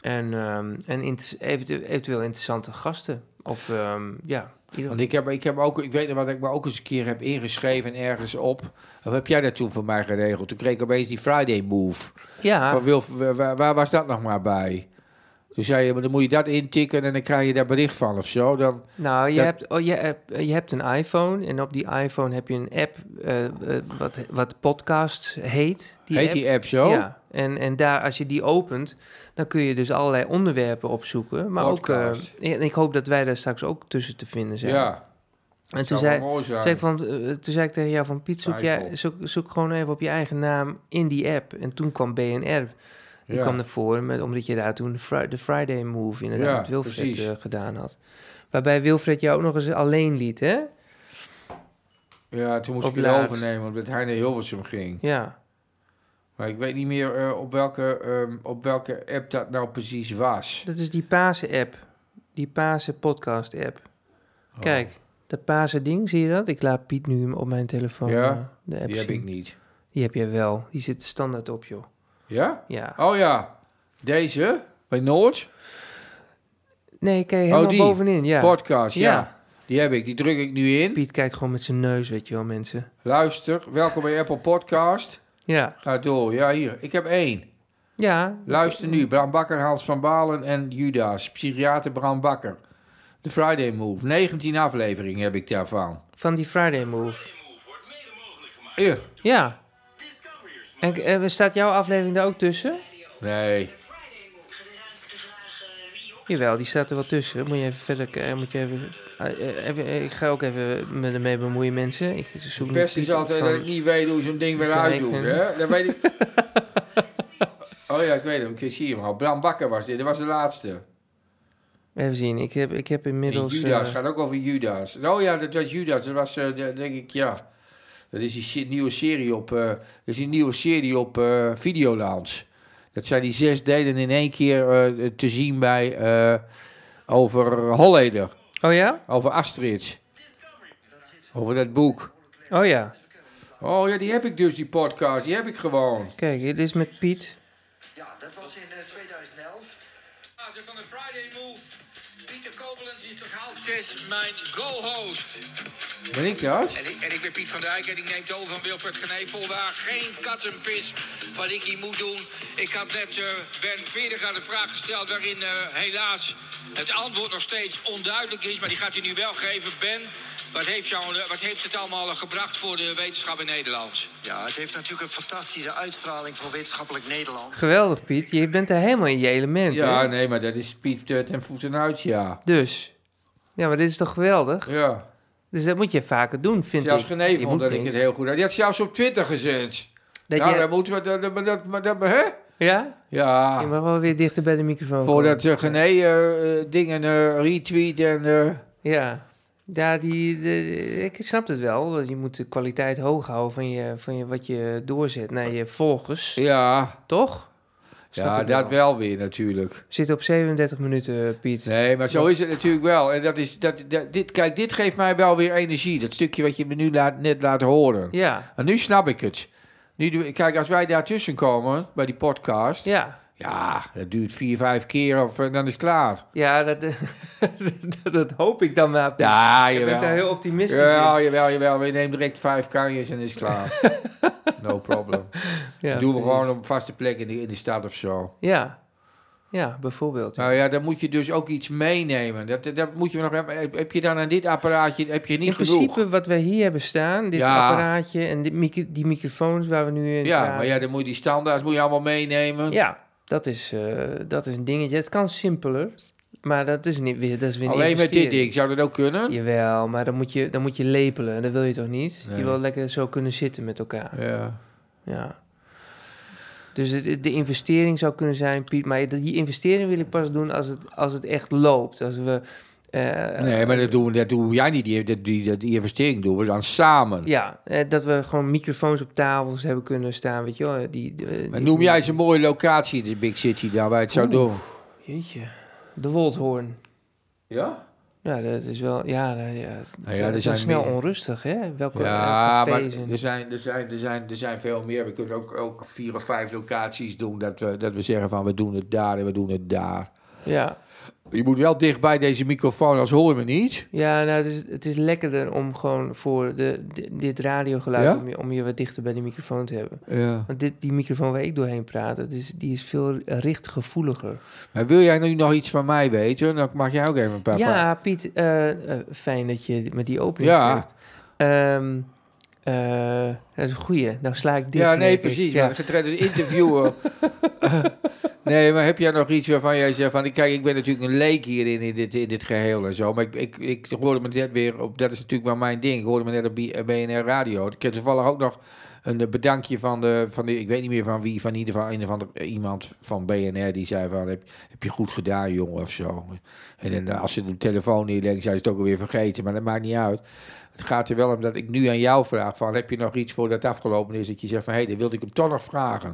A: En, ehm, en inter- eventu- eventueel interessante gasten. Of ehm, ja, ieder...
B: Want ik heb, ik heb ook, ik weet nog wat ik me ook eens een keer heb ingeschreven ergens op. Of heb jij dat toen voor mij geregeld? Toen kreeg ik opeens die Friday move.
A: ja,
B: Van Wilf, waar, waar was dat nog maar bij? Toen zei je, maar dan moet je dat intikken en dan krijg je daar bericht van of zo. Dan,
A: Nou, je,
B: Dat-
A: hebt, oh, je, hebt, je hebt een iPhone en op die iPhone heb je een app eh, eh, wat, wat podcasts heet.
B: heet
A: app.
B: die app zo?
A: Ja, en, en daar, als je die opent, dan kun je dus allerlei onderwerpen opzoeken. Maar
B: Podcast.
A: ook, eh, en ik hoop dat wij daar straks ook tussen te vinden zijn.
B: Ja.
A: en toen
B: dat zou
A: zei,
B: wel mooi zijn.
A: zei ik van, eh, toen zei ik tegen jou van, Piet, zoek, jij,
B: Twijfel.
A: zoek, zoek gewoon even op je eigen naam in die app. En toen kwam BNR, die
B: Ja.
A: kwam naar voren, met, omdat je daar toen de, Fri- de Friday Move inderdaad
B: Ja,
A: met Wilfred
B: precies.
A: eh, gedaan had. Waarbij Wilfred jou ook nog eens alleen liet, hè?
B: ja, toen moest
A: op
B: ik het
A: laatst.
B: overnemen omdat hij naar Hilversum ging.
A: Ja,
B: Maar ik weet niet meer eh, op, welke, ehm, op welke app dat nou precies was.
A: dat is die Pasen-app. Die Pasen-podcast-app.
B: Oh,
A: Kijk, dat Pasen-ding, zie je dat? Ik laat Piet nu op mijn telefoon
B: Ja,
A: eh, de app
B: die heb
A: zien.
B: ik niet.
A: Die heb jij wel. Die zit standaard op, joh.
B: Ja?
A: Ja.
B: Oh ja, deze bij Noord.
A: Nee, kijk, helemaal
B: Oh, die.
A: bovenin. Ja.
B: Podcast, ja.
A: Ja.
B: Die heb ik, die druk ik nu in.
A: Piet kijkt gewoon met zijn neus, weet je wel, mensen.
B: Luister, welkom bij Apple Podcast.
A: Ja.
B: Ga door, ja hier, ik heb één.
A: Ja.
B: Luister nu, Bram Bakker, Hans van Balen en Judas, psychiater Bram Bakker. De Friday Move, 19 afleveringen heb ik daarvan.
A: Van die Friday Move.
B: Eh,
A: Ja. En eh, staat jouw aflevering daar ook tussen?
B: Nee,
A: Jawel, die staat er wel tussen. Moet je even verder... eh, moet je even, ah, eh, even eh, ik ga ook even me ermee bemoeien, mensen. Ik zoek
B: Het
A: nu
B: beste
A: Piet
B: is
A: op
B: altijd
A: van-
B: dat ik niet weet hoe zo'n ding weer
A: Kijken.
B: uitdoet, hè? Dan weet ik... oh ja, ik weet hem. Ik zie hem al. Bram Bakker was dit. Dat was de laatste. eh,
A: Even zien. Ik heb, ik heb
B: En
A: inmiddels...
B: Judas.
A: eh,
B: gaat ook over Judas. Oh ja, dat was Judas. Dat was, eh, de- denk ik, ja... Dat is die se- nieuwe serie op... eh, dat is die nieuwe serie op eh Videoland. Dat zijn die zes delen in één keer eh, te zien bij... eh, over Holleder.
A: Oh ja?
B: Over Astrid. Over dat boek.
A: Oh ja.
B: Oh ja, die heb ik dus, die podcast. Die heb ik gewoon.
A: Kijk, dit is met Piet.
C: Ja, dat was in eh, 2011.
D: Bazen van de Friday Move.
C: Pieter Kobelens is tot half zes mijn co-host.
B: Ben ik dat?
C: En ik, en ik ben Piet van Dijk en ik neem het over van Wilfred Genevel. Waar geen kattenpis wat ik hier moet doen. Ik had net eh, Ben Veerdig aan de vraag gesteld waarin eh, helaas het antwoord nog steeds onduidelijk is. Maar die gaat hij nu wel geven. Ben, wat heeft, jou, wat heeft het allemaal eh, gebracht voor de wetenschap in Nederland?
D: Ja, het heeft natuurlijk een fantastische uitstraling voor wetenschappelijk Nederland.
A: Geweldig, Piet. Je bent er helemaal in je element.
B: Ja,
A: hè?
B: nee, maar dat is Piet eh, ten voeten uit, ja.
A: Dus. Ja, maar dit is toch geweldig?
B: Ja.
A: Dus dat moet je vaker doen, vind
B: Zelfs
A: ik.
B: Geneve
A: Je
B: vond
A: moet
B: dat ik het
A: niks.
B: heel goed had. Die had zelfs op Twitter gezet.
A: Dat
B: nou,
A: je-
B: dan moeten we... Dat, dat, dat, maar dat, hè?
A: Ja?
B: Ja,
A: Je mag wel weer dichter bij de microfoon
B: voordat
A: komen.
B: ze Gené eh, eh, dingen eh, retweet en... eh,
A: Ja. Ja, die, de- ik snap het wel. Je moet de kwaliteit hoog houden van, je, van je, wat je doorzet naar je volgers.
B: ja,
A: Toch? Snap
B: ja
A: ik
B: dat wel weer natuurlijk.
A: We zitten op 37 minuten, Piet.
B: Nee, maar zo is het natuurlijk wel. En dat is, dat, dat- dit, kijk, dit geeft mij wel weer energie. Dat stukje wat je me nu laat, net laat horen.
A: Ja.
B: En nu snap ik het. Nu, doe- kijk, als wij daartussen komen bij die podcast. Ja,
A: Ja.
B: dat duurt vier, vijf keer of eh, dan is het klaar.
A: Ja, dat, dat, dat hoop ik dan maar. Piet.
B: Ja,
A: je bent daar
B: jawel.
A: heel optimistisch
B: Ja, jawel, jawel. We nemen direct vijf kanjes en is het klaar. no problem.
A: in. Ja,
B: Doen we
A: precies.
B: gewoon op een vaste plek in de, in de stad of zo.
A: Ja. Ja, bijvoorbeeld.
B: Nou ja, dan moet je dus ook iets meenemen. Dat, dat moet je nog, heb, heb je dan aan dit apparaatje heb je niet
A: in
B: genoeg?
A: principe wat we hier hebben staan, dit
B: Ja.
A: apparaatje en dit micro- die microfoons waar we nu in
B: Ja,
A: praten.
B: maar ja, dan moet je die standaards moet je allemaal meenemen.
A: Ja, dat is, eh, dat is een dingetje. Het kan simpeler, maar dat is, niet, weer- dat is weer een
B: Alleen met dit
A: investering.
B: ding, zou dat ook kunnen?
A: Jawel, maar dan moet, je, dan moet je lepelen. en Dat wil je toch niet?
B: Nee.
A: Je wil lekker zo kunnen zitten met elkaar.
B: Ja.
A: Ja. Dus het- het- de investering zou kunnen zijn, Piet. Maar die investering wil ik pas doen als het, als het echt loopt. Als we... eh,
B: Nee, maar dat doen, dat doen jij niet. Die, die, die, die investering doen we dan samen.
A: Ja, eh, dat we gewoon microfoons op tafels hebben kunnen staan, weet je wel. eh, Die, die-
B: Maar
A: die-
B: noem jij eens een mooie locatie in de Big City daar waar je het zou
A: Oeh.
B: doen.
A: Jeetje, de Woldhoorn.
B: Ja?
A: Ja, dat is wel... Ja, nou ja,
B: er
A: het is
B: zijn
A: wel snel
B: meer.
A: onrustig, hè? Welke
B: Ja,
A: eh,
B: maar dus-
A: cafés en...
B: er zijn, er, zijn, er, zijn, er zijn veel meer. We kunnen ook, ook vier of vijf locaties doen. Dat we, dat we zeggen van we doen het daar en we doen het daar.
A: Ja,
B: Je moet wel dicht bij deze microfoon, anders hoor je me niet.
A: ja nou, het is, het is lekkerder om gewoon voor de, di- dit radiogeluid...
B: Ja?
A: Om, je, om je wat dichter bij de microfoon te hebben.
B: Ja.
A: Want dit, die microfoon waar ik doorheen praat, dat is, die is veel richtgevoeliger.
B: Maar wil jij nu nog iets van mij weten? Dan mag jij ook even een paar vragen.
A: Ja, Piet, eh, eh, fijn dat je met die opening
B: Ja.
A: geeft. Ehm, eh, dat is een goeie. Nou sla ik dit.
B: Ja, nee, precies.
A: Ja.
B: Maar getraind interviewer. nee, maar heb jij nog iets waarvan jij zegt van... Kijk, ik ben natuurlijk een leek hierin, in dit, in dit geheel en zo. Maar ik, ik, ik hoorde me net weer op... Dat is natuurlijk wel mijn ding. Ik hoorde me net op B- BNR Radio. Ik heb toevallig ook nog een eh, bedankje van de, van de... Ik weet niet meer van wie, van ieder van een of ander, eh, iemand van BNR... die zei van, heb, heb je goed gedaan, jongen, of zo. En dan, eh, als ze de telefoon neerleggen, zijn ze het ook alweer vergeten. Maar dat maakt niet uit. Het gaat er wel om dat ik nu aan jou vraag: van, heb je nog iets voor dat afgelopen is? Dat je zegt van hé, hey, dat wilde ik hem toch nog vragen.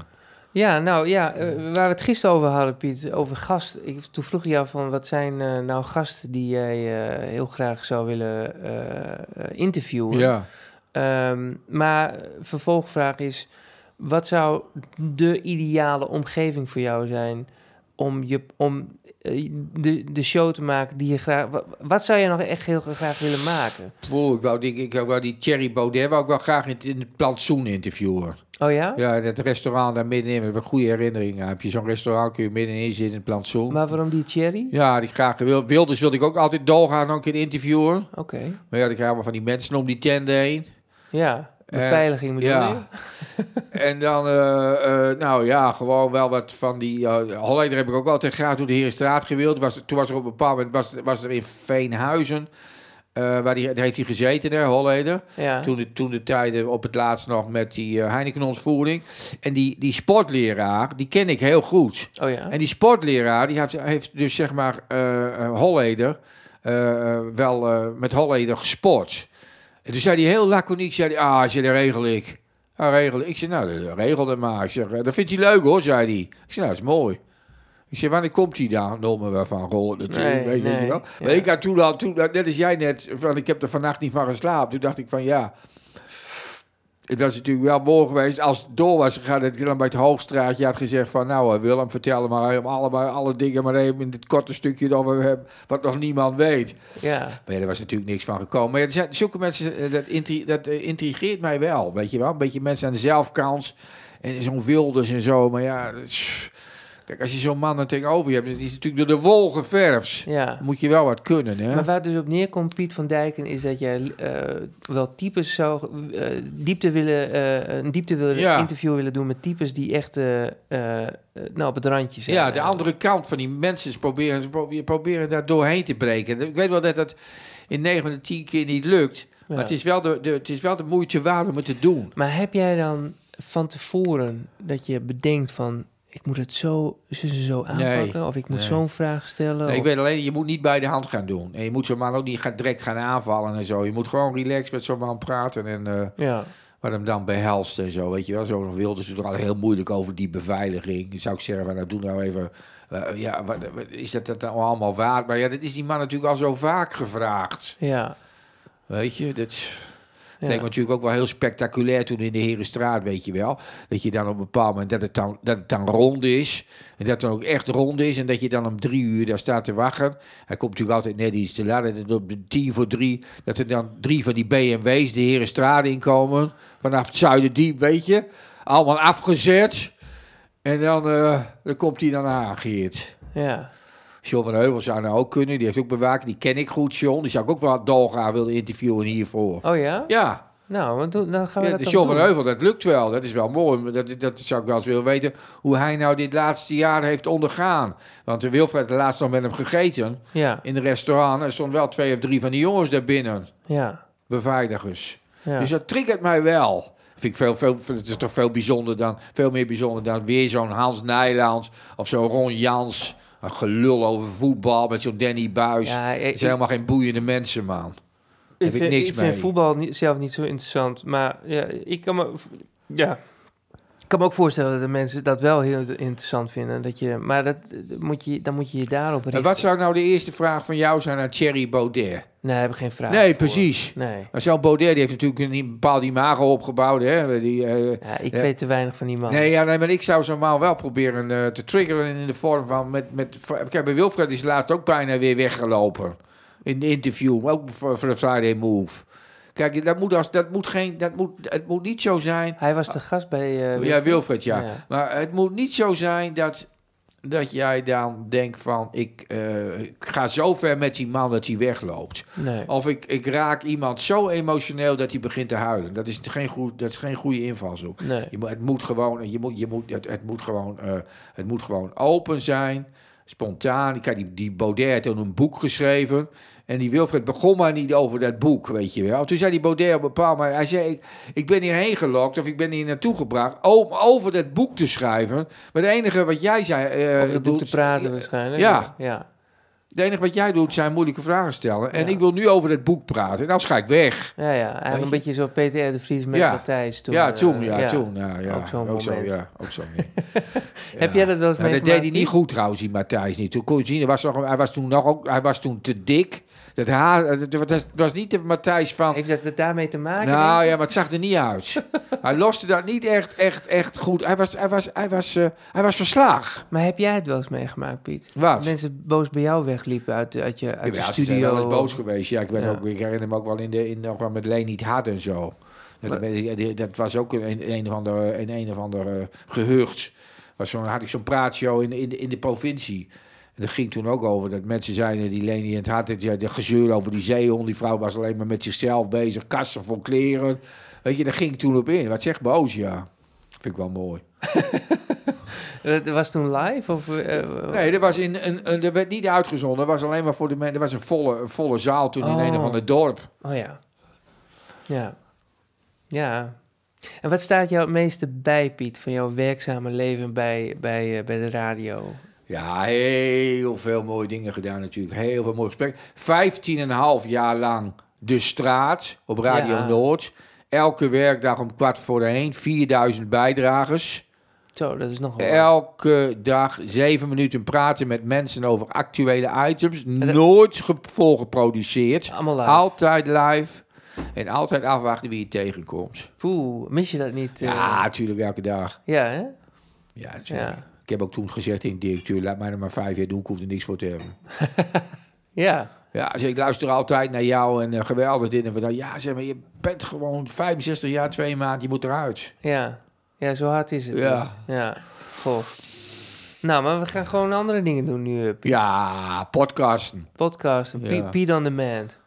A: Ja, nou ja, eh, waar we het gisteren over hadden, Piet, over gast. Ik, toen vroeg je jou van wat zijn eh, nou gasten die jij eh, heel graag zou willen eh, eh, interviewen. Ehm, maar vervolgvraag is: wat zou de ideale omgeving voor jou zijn om, je, om eh, de, de show te maken die je graag. wa- Wat, zou je nog echt heel graag willen maken?
B: Poeh, ik, wou, die- ik, wou die Thierry Baudet wou ik wel graag in, het- in het plantsoen interviewen.
A: Oh ja?
B: Ja, in het restaurant daar middenin. Daar heb ik goede herinneringen aan. Heb je zo'n restaurant, kun je middenin zitten in het plantsoen.
A: Maar waarom die Cherry?
B: Ja, die graag wil. Wilders wilde ik ook altijd dolgaan, ook in interviewen.
A: Oké.
B: Maar ja, ik ga allemaal van die mensen om die tenten heen.
A: Ja, beveiliging bedoel
B: Eh, ja. En dan, eh, eh, nou ja, gewoon wel wat van die... eh Holleder heb ik ook altijd graag door de Herenstraat gewild. Was, toen was er op een bepaald moment, was, was er in Veenhuizen... eh, waar die, daar heeft hij gezeten, hè, Holleder.
A: je? Ja.
B: Toen, de, toen de tijden op het laatst nog met die eh, Heineken-ontvoering. En die, die sportleraar, die ken ik heel goed.
A: Oh ja.
B: En die sportleraar, die heeft, heeft dus zeg maar eh, eh, Holleder eh, eh, wel eh, met Holleder gesport. En toen zei hij heel laconiek, zei hij, ah, zei, dat regel ik. Ah, regel ik. Ik zei, nou, dat regel dat maar. Ik zeg, "Eh, dat vindt hij leuk hoor, zei hij. Ik zei, nou, dat is mooi. Ik zei, wanneer komt hij dan? Noem me wel van Roller natuurlijk,
A: Nee,
B: weet je
A: nee,
B: wel.
A: ja.
B: Maar ik had toen al, toen, net als jij net, van, ik heb er vannacht niet van geslapen. Toen dacht ik van, ja, Dat is natuurlijk wel mooi geweest. Als het door was gegaan, dat je dan bij het Hoogstraatje had gezegd van... nou, eh, Willem, vertel hem maar alle, alle dingen maar even in dit korte stukje... Dat we hebben, wat nog niemand weet.
A: Ja.
B: Maar ja, daar was natuurlijk niks van gekomen. Maar ja, er zijn zulke mensen, eh, dat, intri- dat eh, intrigeert mij wel, weet je wel. Een beetje mensen aan de zelfkant en zo'n wilders en zo. Maar ja, dat is- kijk, als je zo'n man er tegenover je hebt, die is natuurlijk door de wol geverfd.
A: ja.
B: Dan moet je wel wat kunnen, hè.
A: Maar waar het dus op neerkomt, Piet van Dijken, is dat jij eh, wel types zou eh, diepte willen, eh, een diepte willen
B: Ja.
A: interview willen doen met types die echt eh, eh, eh, nou, op het randje zijn.
B: Ja, de andere kant van die mensen is proberen, ze proberen, proberen daar doorheen te breken. Ik weet wel dat dat in 9 van de 10 keer niet lukt. Maar
A: Ja.
B: het is, wel de, de, het is wel de moeite waard om het te doen.
A: Maar heb jij dan van tevoren dat je bedenkt van ik moet het zo, zo, zo- zo aanpakken of ik moet
B: nee.
A: zo'n vraag stellen?
B: Nee, ik
A: of-
B: weet alleen, je moet niet bij de hand gaan doen. En je moet zo'n man ook niet gaan, direct gaan aanvallen en zo. Je moet gewoon relaxed met zo'n man praten en eh,
A: Ja,
B: wat hem dan behelst en zo. Dus Weet je wel, zo'n wilde doet er al heel moeilijk over die beveiliging. Dan zou ik zeggen, van, nou doe nou even... eh, ja, wat, wat- is dat, dat nou allemaal waard? Maar ja, dat is die man natuurlijk al zo vaak gevraagd.
A: ja.
B: Weet je, dat... is-
A: ja.
B: Het leek me natuurlijk ook wel heel spectaculair toen in de Herenstraat, weet je wel. Dat je dan op een bepaald moment, dat het dan, dat het dan rond is. En dat het dan ook echt rond is. En dat je dan om drie uur daar staat te wachten. Hij komt natuurlijk altijd net iets te laat. En op de tien voor drie, dat er dan drie van die BMW's de Herenstraat inkomen. Vanaf het Zuiderdiep, weet je. Allemaal afgezet. En dan, eh, dan komt hij dan aan, Geert.
A: ja.
B: John van Heuvel zou nou ook kunnen. Die heeft ook bewaken. Die ken ik goed, John. Die zou ik ook wel dolgraag willen interviewen hiervoor.
A: Oh ja?
B: Ja.
A: Nou, want dan dan gaan we
B: Ja,
A: dat
B: de
A: toch
B: John van
A: doen.
B: Heuvel, dat lukt wel. Dat is wel mooi. Maar Dat, dat zou ik wel eens willen weten. Hoe hij nou dit laatste jaar heeft ondergaan. Want de Wilfred had laatst nog met hem gegeten.
A: Ja,
B: In een restaurant. Er stonden wel twee of drie van die jongens daar binnen.
A: ja,
B: Beveiligers.
A: ja.
B: Dus dat triggert mij wel. Vind ik veel, veel, het is toch veel, bijzonder dan, veel meer bijzonder dan weer zo'n Hans Nijland. Of zo'n Ron Jans. Een gelul over voetbal met zo'n Danny Buis.
A: Ja,
B: Het
A: ik-
B: zijn helemaal geen boeiende mensen, man. heb ik
A: vind,
B: niks
A: ik vind
B: mee.
A: voetbal niet, zelf niet zo interessant. Maar ja, ik kan me... Ja. Ik kan me ook voorstellen dat de mensen dat wel heel interessant vinden. Dat je, maar dat, dat moet je, dan moet je je daarop richten.
B: En wat zou nou de eerste vraag van jou zijn aan Thierry Baudet?
A: Nee, daar heb ik geen vraag
B: Nee,
A: voor.
B: precies.
A: Nee.
B: Maar zo'n Baudet die heeft natuurlijk een bepaald imago opgebouwd. Hè? Die, eh,
A: Ja, ik
B: Ja.
A: weet te weinig van die man.
B: nee, ja, nee, maar ik zou zo'n man wel proberen eh, te triggeren in de vorm van... Met, met, kijk, bij Wilfred is laatst ook bijna weer weggelopen. In de interview, maar ook voor, voor de Friday Move. Kijk, dat moet, als, dat moet, geen, dat moet, het moet niet zo zijn...
A: Hij was de gast bij... eh,
B: Ja,
A: Wilfred.
B: Wilfred, ja.
A: Ja.
B: Maar het moet niet zo zijn dat, dat jij dan denkt van... Ik, eh, ik ga zo ver met die man dat hij wegloopt.
A: Nee.
B: Of ik, ik raak iemand zo emotioneel dat hij begint te huilen. Dat is geen, goed, dat is geen goede invalshoek.
A: Nee.
B: Je, moet- het, moet gewoon, je, moet, je moet, het, het moet gewoon, eh, het moet gewoon open zijn, spontaan. Kijk, die, die Baudet heeft toen een boek geschreven. En die Wilfred begon maar niet over dat boek, weet je wel. Toen zei die Baudet op een bepaald moment... Hij zei, ik, ik ben hierheen gelokt of ik ben hier naartoe gebracht... om over dat boek te schrijven. Maar het enige wat jij zei... eh,
A: Over het boek
B: doet-
A: te praten waarschijnlijk.
B: Ja.
A: Ja.
B: Het enige wat jij doet zijn moeilijke vragen stellen. En
A: Ja.
B: ik wil nu over dat boek praten. En dan ga ik weg.
A: Ja, ja. Eigenlijk
B: je?
A: een beetje zo Peter R. de Vries met
B: Ja.
A: Matthijs toen.
B: ja,
A: eh,
B: toen, ja, toen. Ja, ja.
A: Ook zo'n moment.
B: Zo, ja, ook zo'n ding.
A: Heb
B: Ja.
A: jij dat wel eens
B: Nou, dat
A: meegemaakt?
B: deed hij
A: Piet?
B: niet goed trouwens, die Matthijs niet. Toen kon je zien, hij was, nog, hij was toen, nog ook, hij was toen te dik. Dat haar, dat was, was niet de Matthijs van...
A: Heeft dat het daarmee te maken?
B: nou
A: denk
B: ja, maar het zag er niet uit. hij loste dat niet echt, echt, echt goed. Hij was, hij was, hij was, eh, hij was verslagen.
A: je? Maar heb jij het wel eens meegemaakt, Piet?
B: Wat?
A: Dat mensen boos bij jou wegliepen uit, de- uit je, uit
B: Ja,
A: de
B: ze zijn
A: studio.
B: eh, wel eens boos geweest. Ja, ik, ben
A: Ja.
B: Ook, ik herinner me ook wel in de in, nog wel met Leni het Hart en zo. Dat,
A: Maar-
B: weet ik, die- dat was ook in een, een of ander, in een of ander eh, gehucht. Was zo'n had ik zo'n praatshow in, de- in, de- in de provincie. En dat ging toen ook over dat mensen zeiden, die Leni in het Hart, dat, ja, de gezeur over die zeehond, die vrouw was alleen maar met zichzelf bezig, kassen vol kleren. Weet je, daar ging ik toen op in. Wat zegt boos, ja. Vind ik wel mooi.
A: Dat was toen live? Of, eh,
B: Nee, dat, was in, een, een, dat werd niet uitgezonden. Dat was alleen maar voor de mensen. Dat was een volle, een volle zaal toen in
A: Oh.
B: een of ander dorp.
A: Oh ja. Ja. Ja. En wat staat jou het meeste bij, Piet, van jouw werkzame leven bij, bij, eh, bij de radio?
B: Ja, heel veel mooie dingen gedaan natuurlijk. Heel veel mooie gesprekken. Vijftien en een half jaar lang De Straat op Radio
A: Ja.
B: Noord. Elke werkdag om kwart voor één. 4000 bijdragers.
A: Zo, dat is nogal.
B: Elke dag zeven minuten praten met mensen over actuele items. Nooit ge- volgeproduceerd.
A: Allemaal live.
B: Altijd live. En altijd afwachten wie je tegenkomt.
A: Poeh, mis je dat niet? eh?
B: Ja, natuurlijk, elke dag.
A: Ja, hè?
B: Ja, natuurlijk.
A: Ja.
B: Ik heb ook toen gezegd tegen de directeur, laat mij er maar vijf jaar doen, ik hoef er niks voor te hebben.
A: Ja.
B: Ja, zeg, ik luister altijd naar jou en eh, geweldig dit en dat. Ja, zeg maar, je bent gewoon 65 jaar, twee maanden, je moet eruit.
A: Ja. Ja, zo hard is het.
B: Ja.
A: dus. Ja. Goh. Nou, maar we gaan gewoon andere dingen doen nu. eh, Piet.
B: Ja, podcasten.
A: Podcast, Piet,
B: Ja.
A: Piet on Demand.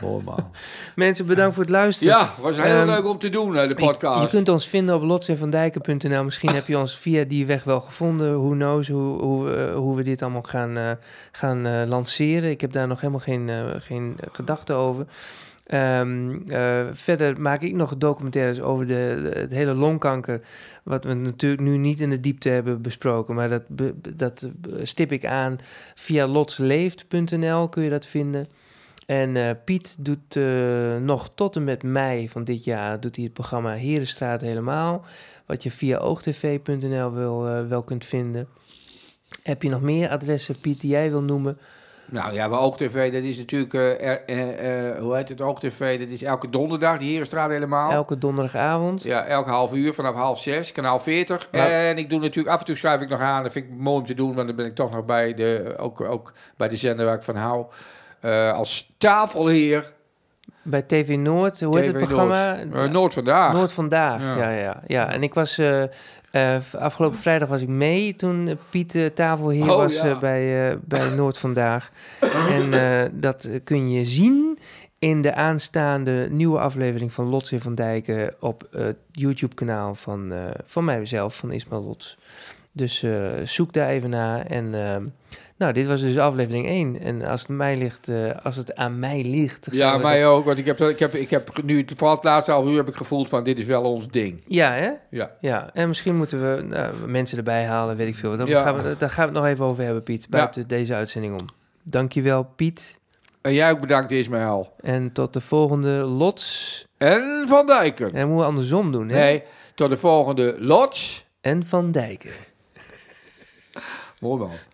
B: Mooi man.
A: Mensen, bedankt voor het luisteren.
B: Ja, was heel
A: Ehm,
B: leuk om te doen, eh, de
A: Je- Je,
B: podcast.
A: kunt ons vinden op lotsenvandijken.nl. Misschien heb je ons via die weg wel gevonden. Who knows hoe, hoe, eh, hoe we dit allemaal gaan, eh, gaan eh, lanceren. Ik heb daar nog helemaal geen, eh, geen gedachten over. Ehm, eh, verder maak ik nog documentaires over de, de- het hele longkanker. Wat we natuurlijk nu niet in de diepte hebben besproken. Maar dat, be- be- dat eh, stip ik aan via lotsleeft.nl kun je dat vinden. En eh, Piet doet eh, nog tot en met mei van dit jaar doet hij het programma Herenstraat helemaal. Wat je via oogtv.nl wel, eh, wel kunt vinden. Heb je nog meer adressen, Piet, die jij wil noemen?
B: Nou ja, maar Oog TV, dat is natuurlijk, eh, er- eh, eh, hoe heet het, Oog TV, dat is elke donderdag, de Herenstraat helemaal.
A: Elke donderdagavond.
B: Nou. Ja, elke half uur vanaf half zes, kanaal 40.
A: Maar-
B: En ik doe natuurlijk, af en toe schuif ik nog aan. Dat vind ik mooi om te doen, want dan ben ik toch nog bij de, ook, ook bij de zender waar ik van hou. Eh, als tafelheer.
A: Bij TV Noord, hoe heet het
B: TV
A: programma?
B: Noord, Eh, Noord vandaag.
A: Noord vandaag. Ja.
B: Ja.
A: Ja, ja, En ik was eh, eh, v- afgelopen vrijdag was ik mee toen eh, Piet eh, Tafelheer
B: Oh,
A: was
B: ja.
A: eh, bij, eh, bij Noord vandaag. en eh, dat eh, kun je zien in de aanstaande nieuwe aflevering van Lots in Van Dijken op eh, het YouTube kanaal van, eh, van mijzelf, van Ismael Lots. Dus eh, zoek daar even naar. En ehm, nou, dit was dus aflevering 1. En als het, mij ligt, eh, als het aan mij ligt. gaan
B: Ja,
A: we
B: mij
A: dat-
B: ook, want ik heb, ik heb, ik heb nu, vooral het laatste half uur heb ik gevoeld van, dit is wel ons ding.
A: Ja, hè?
B: Ja.
A: Ja, en misschien moeten we nou, mensen erbij halen, weet ik veel. Daar,
B: Ja.
A: gaan we, daar gaan we het nog even over hebben, Piet. Buiten deze uitzending om. Dankjewel, Piet.
B: En jij ook bedankt, Ismaël.
A: En tot de volgende Lots.
B: En Van Dijken.
A: En moeten we andersom doen, hè?
B: Nee, tot de volgende Lots.
A: En Van Dijken.
B: Mooi man.